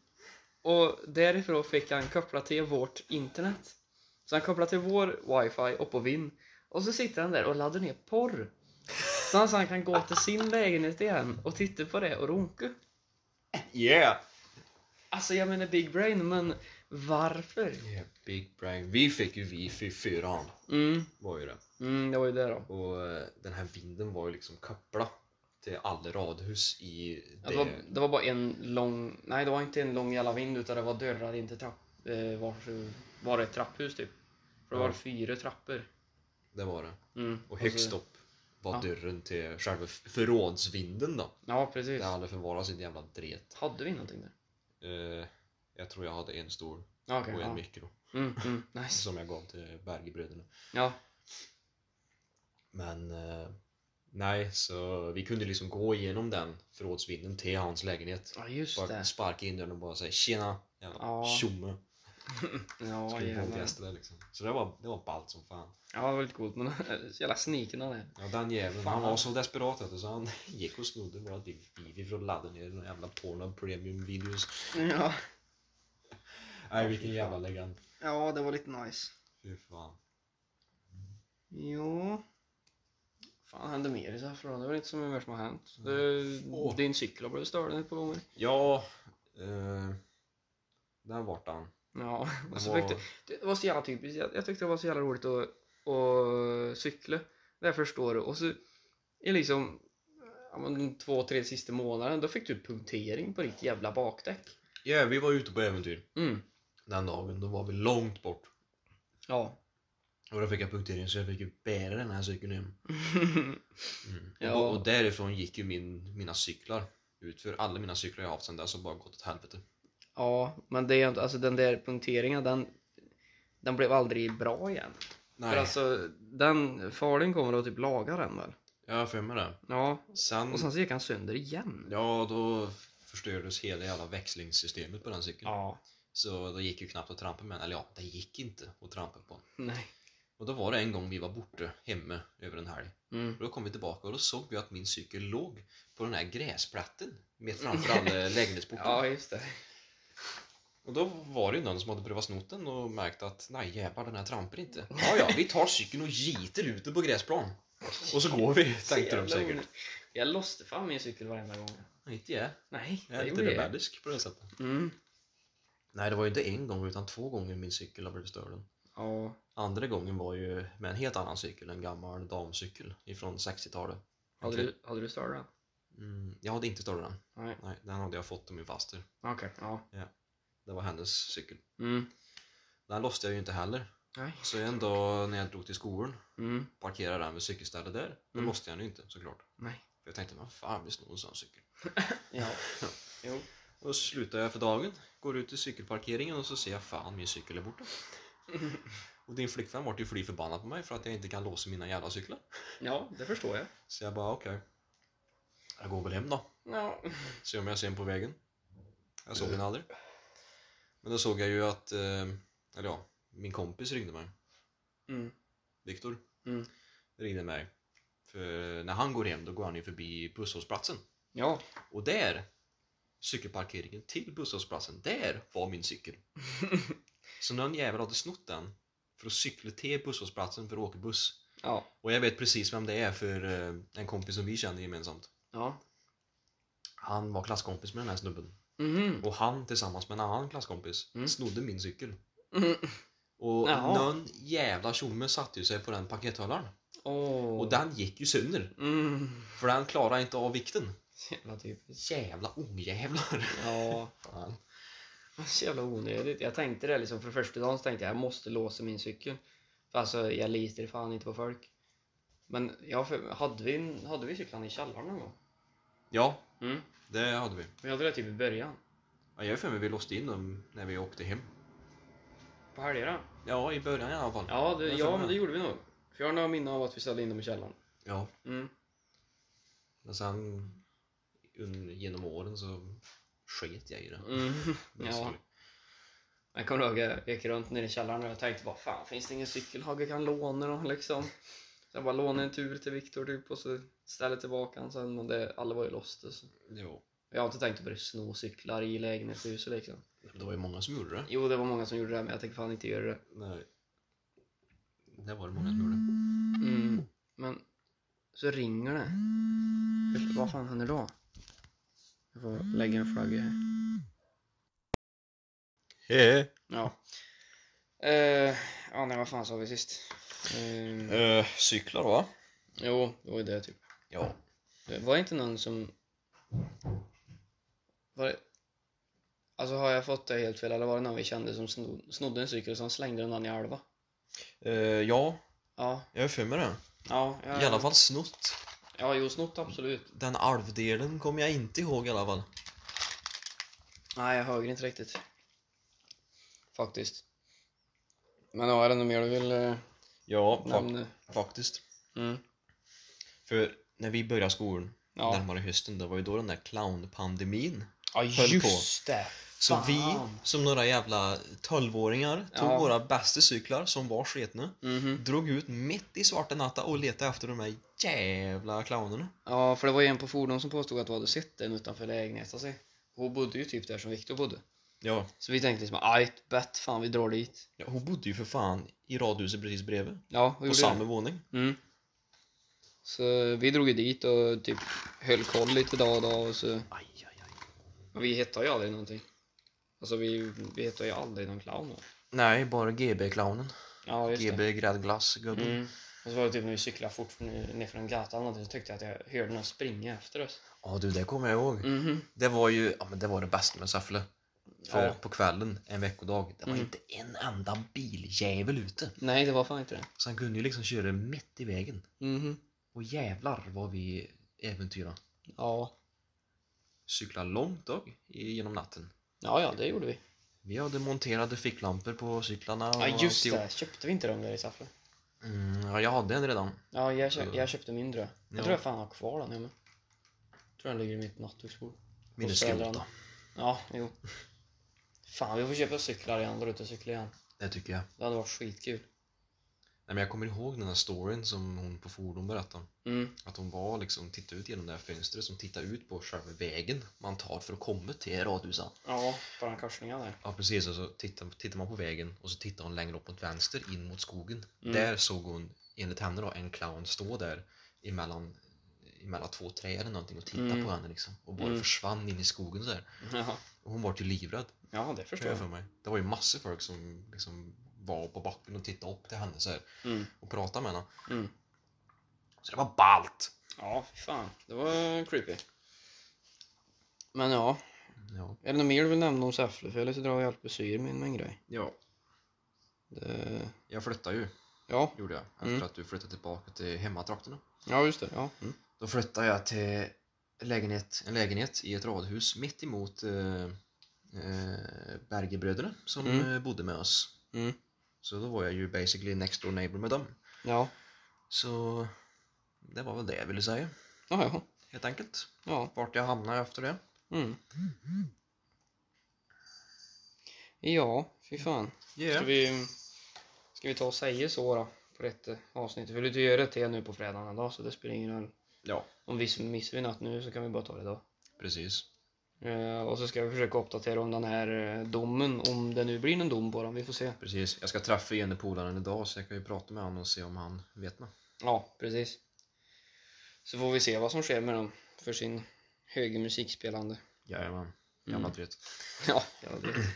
Speaker 2: Och därifrån fick han koppla till vårt internet. Så han kopplade till vår wifi upp på Vinn. Och så sitter han där och laddar ner porr. Så han, så han kan gå till sin lägenhet igen och titta på det och runka.
Speaker 1: Yeah!
Speaker 2: Alltså jag menar big brain, men varför?
Speaker 1: yeah big brain. Vi fick ju wifi i fyran,
Speaker 2: Mm,
Speaker 1: var ju det.
Speaker 2: mm det var ju det då.
Speaker 1: Och eh, den här vinden var ju liksom kopplad till alla radhus i det.
Speaker 2: Det var, Alltså, det var bara en lång, nej det var inte en lång jävla vind utan det var dörrar in till trapp, eh, var, var det ett trapphus typ. För det var
Speaker 1: Ja.
Speaker 2: fyra trappor.
Speaker 1: det var det.
Speaker 2: Mm.
Speaker 1: Och högst
Speaker 2: så-
Speaker 1: upp var
Speaker 2: Ja.
Speaker 1: dörren till själva f- förrådsvinden då.
Speaker 2: Ja precis.
Speaker 1: Där alla förvarade sitt jävla dret.
Speaker 2: Hade vi någonting där?
Speaker 1: Eh, jag tror jag hade en stor
Speaker 2: Ja,
Speaker 1: och
Speaker 2: okej.
Speaker 1: en
Speaker 2: ja.
Speaker 1: mikro.
Speaker 2: Mm, mm, nice.
Speaker 1: Som jag gav till Bergebröderna.
Speaker 2: Ja.
Speaker 1: Men eh, nej, så vi kunde liksom gå igenom den förrådsvinden till hans lägenhet.
Speaker 2: ja, just
Speaker 1: Bara
Speaker 2: det.
Speaker 1: sparka in dörren och bara säga tjena jävla
Speaker 2: Ja.
Speaker 1: tjomme.
Speaker 2: Ja,
Speaker 1: Skulle
Speaker 2: jävlar.
Speaker 1: våldgästa där liksom. Så det var, det var ballt som fan.
Speaker 2: ja, det var lite coolt men <laughs> så jävla sniken han är.
Speaker 1: Ja, den jäveln
Speaker 2: Fan.
Speaker 1: han var så desperat vet du, så han <laughs> gick och snodde våra bivi för att ladda ner några jävla Pornhub Premium videos.
Speaker 2: Ja.
Speaker 1: Nej vilken jävla legend.
Speaker 2: ja, det var lite nice.
Speaker 1: Fy fan.
Speaker 2: Jo. Fan hände mer i Saffron? Det var inte så mycket mer som har hänt. Det,
Speaker 1: Åh.
Speaker 2: Din cykel har blivit störd ett par gånger.
Speaker 1: Ja, eh, där vart
Speaker 2: <laughs>
Speaker 1: han.
Speaker 2: Ja, och så
Speaker 1: var-
Speaker 2: fick du, det var så jävla typiskt. Jag, jag tyckte det var så jävla roligt att, att cykla. Det förstår du. Och så i liksom ja, men, de två, tre sista månaderna då fick du punktering på ditt jävla bakdäck.
Speaker 1: Ja, vi var ute på äventyr
Speaker 2: Mm.
Speaker 1: den dagen. Då var vi långt bort.
Speaker 2: Ja.
Speaker 1: Och då fick jag punktering så jag fick ju bära den här cykeln hem. Mm.
Speaker 2: Ja.
Speaker 1: Och, och därifrån gick ju min, mina cyklar ut. För alla mina cyklar jag har haft sedan dess har bara gått åt helvete.
Speaker 2: <laughs> ja, men det är inte, alltså den där punkteringen den, den blev aldrig bra igen.
Speaker 1: Nej,
Speaker 2: För alltså den, Falun kommer och typ lagar den väl?
Speaker 1: jag har för mig det.
Speaker 2: Ja,
Speaker 1: Sen,
Speaker 2: och sen så gick han sönder igen.
Speaker 1: ja då förstördes hela jävla växlingssystemet på den cykeln.
Speaker 2: Ja.
Speaker 1: Så det gick ju knappt att trampa med den. Eller ja, det gick inte att trampa på den.
Speaker 2: Nej.
Speaker 1: Och då var det en gång vi var borta hemme över en helg.
Speaker 2: Mm.
Speaker 1: Och då kom vi tillbaka och då såg vi att min cykel låg på den här gräsplätten mitt framför
Speaker 2: <laughs>
Speaker 1: alla lägenhetsporten.
Speaker 2: Ja, just det.
Speaker 1: Och då var det ju någon som hade prövat snott den och märkt att nej jävlar den här trampar inte. Ja, ja, vi tar cykeln och giter ut den på gräsplan. Och så går vi, tänkte de säkert.
Speaker 2: Jag låste fan min cykel varenda gång.
Speaker 1: Nej, inte jag.
Speaker 2: Nej,
Speaker 1: Jag är lite rebellisk på det sättet.
Speaker 2: Mm.
Speaker 1: Nej, det var ju inte en gång utan två gånger min cykel har blivit stulen.
Speaker 2: Ja.
Speaker 1: Andra gången var ju med en helt annan cykel, en gammal damcykel ifrån 60-talet.
Speaker 2: Hade du, hade du större?
Speaker 1: Mm, jag hade inte stulit den.
Speaker 2: Nej.
Speaker 1: Nej, den hade jag fått av min faster.
Speaker 2: Okej, ja.
Speaker 1: Det var hennes cykel.
Speaker 2: Mm.
Speaker 1: Den låste jag ju inte heller.
Speaker 2: Nej.
Speaker 1: Så en dag när jag drog till skolan,
Speaker 2: Mm.
Speaker 1: parkerade den vid cykelstället där. Då
Speaker 2: Mm.
Speaker 1: låste jag den ju inte såklart.
Speaker 2: Nej.
Speaker 1: För jag tänkte, vad fan vi snor en sån cykel.
Speaker 2: Ja. Jo.
Speaker 1: Och så slutar jag för dagen, går ut till cykelparkeringen och så ser jag fan min cykel är borta. och din flickvän vart ju fly förbannad på mig för att jag inte kan låsa mina jävla cyklar.
Speaker 2: <laughs> Ja, det förstår jag.
Speaker 1: Så jag bara okej. Jag går väl hem då.
Speaker 2: Ja.
Speaker 1: Se om jag ser en på vägen. Jag såg den aldrig. Men då såg jag ju att, eh, eller ja, min kompis ringde mig.
Speaker 2: Mm.
Speaker 1: Viktor.
Speaker 2: Mm.
Speaker 1: Ringde mig. För när han går hem då går han ju förbi busshållplatsen.
Speaker 2: Ja.
Speaker 1: Och där, cykelparkeringen till busshållplatsen, där var min
Speaker 2: <laughs>
Speaker 1: cykel. Så någon jävel hade snott den för att cykla till busshållplatsen för att åka buss.
Speaker 2: Ja.
Speaker 1: Och jag vet precis vem det är för eh, en kompis som vi känner gemensamt.
Speaker 2: Ja.
Speaker 1: Han var klasskompis med den här snubben.
Speaker 2: Mhm.
Speaker 1: Och han tillsammans med en annan klasskompis
Speaker 2: Mm.
Speaker 1: snodde min
Speaker 2: <laughs>
Speaker 1: cykel.
Speaker 2: Mm.
Speaker 1: Och
Speaker 2: Jaha.
Speaker 1: någon jävla tjomme satte ju sig på den pakethållaren.
Speaker 2: Åh.
Speaker 1: Och den gick ju sönder.
Speaker 2: Mm.
Speaker 1: För den klarade inte av vikten.
Speaker 2: Jävla typiskt.
Speaker 1: Jävla ojävlar.
Speaker 2: Ja. <laughs>
Speaker 1: Fan.
Speaker 2: Så jävla onödigt. Jag tänkte det liksom för första dagen så tänkte jag jag måste låsa min cykel. För alltså jag litar fan inte på folk. Men ja, för, hade, vi, hade vi cyklarna i källaren någon gång?
Speaker 1: Ja,
Speaker 2: Mm.
Speaker 1: det hade vi.
Speaker 2: Vi hade det typ i början.
Speaker 1: Ja, jag är för mig vi låste in dem när vi åkte hem.
Speaker 2: På helgerna.
Speaker 1: Ja, i början i alla fall.
Speaker 2: Ja,
Speaker 1: Jag
Speaker 2: det,
Speaker 1: har
Speaker 2: ja
Speaker 1: för
Speaker 2: men det
Speaker 1: mig.
Speaker 2: gjorde vi nog. För jag har några minnen av att vi ställde in dem i källaren.
Speaker 1: ja.
Speaker 2: Mm.
Speaker 1: Men sen un- genom åren så sket jag i det.
Speaker 2: Mm. <laughs>
Speaker 1: Det är
Speaker 2: Ja.
Speaker 1: sorgligt.
Speaker 2: Jag kommer ihåg jag gick runt nere i källaren och jag tänkte bara fan finns det ingen cykel Hagge kan låna den liksom. Så jag bara lånade en tur till Viktor typ och så ställde jag tillbaka den sen men det, alla var ju lost. Så.
Speaker 1: Jo.
Speaker 2: Jag har inte tänkt att börja sno cyklar i lägenhetshuset liksom.
Speaker 1: Det var ju många som gjorde det.
Speaker 2: Jo, det var många som gjorde det, men jag tänker fan inte göra det.
Speaker 1: Nej. Det var det många som gjorde.
Speaker 2: Mm. Men så ringer det. Hur- Vad fan händer då? Jag får lägga en flagga här.
Speaker 1: Hehe.
Speaker 2: Ja. Eh, ja, nej, vad fan sa vi sist? Eh,
Speaker 1: Uh, cyklar va?
Speaker 2: jo, det var ju det typ.
Speaker 1: Ja.
Speaker 2: Det Var det inte någon som... Var det... Alltså har jag fått det helt fel eller var det någon vi kände som snod, snodde en cykel och sen slängde den i halva?
Speaker 1: Eh, ja,
Speaker 2: Ja.
Speaker 1: jag är för mig det.
Speaker 2: Ja, jag,
Speaker 1: I alla fall snott.
Speaker 2: Ja, jo, snott absolut.
Speaker 1: Den alvdelen kommer jag inte ihåg i alla fall.
Speaker 2: Nej, jag hörde inte riktigt. Faktiskt. Men ja, är det något mer du vill eh,
Speaker 1: Ja,
Speaker 2: nämna?
Speaker 1: faktiskt.
Speaker 2: Mm.
Speaker 1: För när vi började skolan,
Speaker 2: Ja.
Speaker 1: närmare hösten, det var ju då den där clownpandemin
Speaker 2: ja,
Speaker 1: höll
Speaker 2: just det!
Speaker 1: Så
Speaker 2: Fan.
Speaker 1: vi, som några jävla 12-åringar, tog
Speaker 2: Ja.
Speaker 1: våra bästa cyklar som var sketna,
Speaker 2: Mhm.
Speaker 1: drog ut mitt i svarta natta och letade efter de här jävla clownerna.
Speaker 2: Ja, för det var ju en på fordon som påstod att du hade sett den utanför lägenheten. Alltså. Hon bodde ju typ där som Viktor bodde.
Speaker 1: Ja.
Speaker 2: Så vi tänkte liksom, ajt, bett, fan vi drar dit.
Speaker 1: ja, hon bodde ju för fan i radhuset precis bredvid,
Speaker 2: Ja, vi
Speaker 1: på
Speaker 2: gjorde
Speaker 1: samma våning.
Speaker 2: det. Mm. Så vi drog ju dit och typ höll koll lite dag och dag och så
Speaker 1: Aj, aj, aj.
Speaker 2: Men vi hittade ju aldrig någonting. Alltså vi, vi hittade ju aldrig någon clown. då.
Speaker 1: Nej, bara GB-clownen.
Speaker 2: Ja, just det.
Speaker 1: GB gräddglass-gubben.
Speaker 2: Mm. Och så var det typ när vi cyklade fort ner ner från gatan och så tyckte jag att jag hörde någon springa efter oss.
Speaker 1: Ja du, det kommer jag ihåg.
Speaker 2: Mhm.
Speaker 1: Det var ju, ja men det var det bästa med Säffle. För
Speaker 2: Ja.
Speaker 1: på kvällen, en veckodag, det var
Speaker 2: Mm.
Speaker 1: inte en enda biljävel ute.
Speaker 2: Nej, det var fan inte det.
Speaker 1: Så han kunde ju liksom köra mitt i vägen.
Speaker 2: Mhm.
Speaker 1: Och jävlar vad vi äventyra.
Speaker 2: Ja.
Speaker 1: Cykla långt dag i- genom natten.
Speaker 2: ja, ja, det gjorde vi.
Speaker 1: Vi hade monterade ficklampor på cyklarna. och
Speaker 2: Ja, just
Speaker 1: alltihop.
Speaker 2: det. Köpte vi inte dem där i Säffle?
Speaker 1: Mm, ja, jag hade en redan.
Speaker 2: Ja, jag, köp, jag köpte min drö. Jag
Speaker 1: Ja.
Speaker 2: tror jag fan har kvar den, jag med. Jag tror den ligger i mitt nattduksbord.
Speaker 1: Min är
Speaker 2: Och så är
Speaker 1: skrot
Speaker 2: den-
Speaker 1: då.
Speaker 2: Ja, jo. Fan, vi får köpa cyklar igen, dra ut och cykla igen.
Speaker 1: Det tycker jag.
Speaker 2: Det hade varit skitkul.
Speaker 1: Nej, men jag kommer ihåg den här storyn som hon på fordon berättade.
Speaker 2: Mm.
Speaker 1: Att hon var liksom, tittade ut genom det här fönstret som tittar ut på själva vägen man tar för att komma till radhuset.
Speaker 2: Ja, bara korsningar där.
Speaker 1: Ja precis, och så tittar, tittar man på vägen och så tittar hon längre upp mot vänster in mot skogen.
Speaker 2: Mm.
Speaker 1: Där såg hon, enligt henne då, en clown stå där emellan, emellan två träd eller någonting och titta
Speaker 2: Mm.
Speaker 1: på henne liksom. Och bara
Speaker 2: Mm.
Speaker 1: försvann in i skogen så här.
Speaker 2: Ja,
Speaker 1: Och hon var ju livrädd,
Speaker 2: ja det
Speaker 1: förstår
Speaker 2: förstår
Speaker 1: jag
Speaker 2: jag.
Speaker 1: för mig. Det var ju massor folk som liksom var på backen och tittade upp till henne så här
Speaker 2: Mm.
Speaker 1: och pratade med henne.
Speaker 2: Mm.
Speaker 1: Så det var ballt!
Speaker 2: Ja, fy fan. Det var creepy. Men ja,
Speaker 1: Ja.
Speaker 2: är det något mer du vill nämna om Säffle? För eller så drar jag Alpesyr med min grej.
Speaker 1: ja.
Speaker 2: Det...
Speaker 1: Jag flyttade ju,
Speaker 2: Ja,
Speaker 1: gjorde jag. Efter
Speaker 2: Mm.
Speaker 1: att du flyttade tillbaka till hemmatrakterna.
Speaker 2: ja just det. Ja. Mm.
Speaker 1: Då flyttade jag till lägenhet, en lägenhet i ett radhus mitt emot eh, eh, Bergebröderna som
Speaker 2: Mm.
Speaker 1: eh, bodde med oss.
Speaker 2: Mm.
Speaker 1: Så då var jag ju basically next door neighbor med dem.
Speaker 2: Ja.
Speaker 1: Så det var väl det jag ville säga
Speaker 2: Ja, ja.
Speaker 1: helt enkelt.
Speaker 2: ja.
Speaker 1: Vart jag hamnade efter det.
Speaker 2: Mm. Ja, fy fan. Ska vi, ska vi ta och säga så då? På rätt eh, avsnitt. För du gör det till nu på fredagen idag så det spelar ingen roll.
Speaker 1: Ja,
Speaker 2: Om vi missar vi något nu så kan vi bara ta det idag.
Speaker 1: precis.
Speaker 2: Eh, och så ska vi försöka uppdatera om den här eh, domen, om det nu blir någon dom på den. Vi får se.
Speaker 1: Precis. Jag ska träffa ene polaren idag så jag kan ju prata med honom och se om han vet något.
Speaker 2: Ja, precis. Så får vi se vad som sker med dem för sin höga musikspelande.
Speaker 1: Jajamän.
Speaker 2: Mm.
Speaker 1: Gammalt vet.
Speaker 2: <laughs> Ja, jag vet.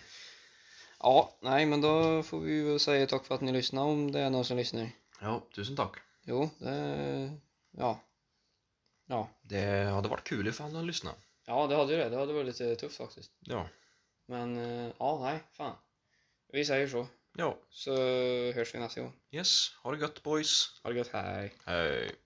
Speaker 2: Ja, nej men då får vi väl säga tack för att ni lyssnar om det är någon som lyssnar.
Speaker 1: Ja, tusen tack.
Speaker 2: Jo, det... Ja. Ja,
Speaker 1: Det hade varit kul ifall han lyssnade.
Speaker 2: ja det hade ju det. Det hade varit lite tufft faktiskt.
Speaker 1: Ja.
Speaker 2: Men eh, ja, nej, fan. Vi säger så.
Speaker 1: Ja.
Speaker 2: Så hörs vi nästa gång.
Speaker 1: Yes. Ha det gött boys.
Speaker 2: Ha det gött, hej.
Speaker 1: Hej.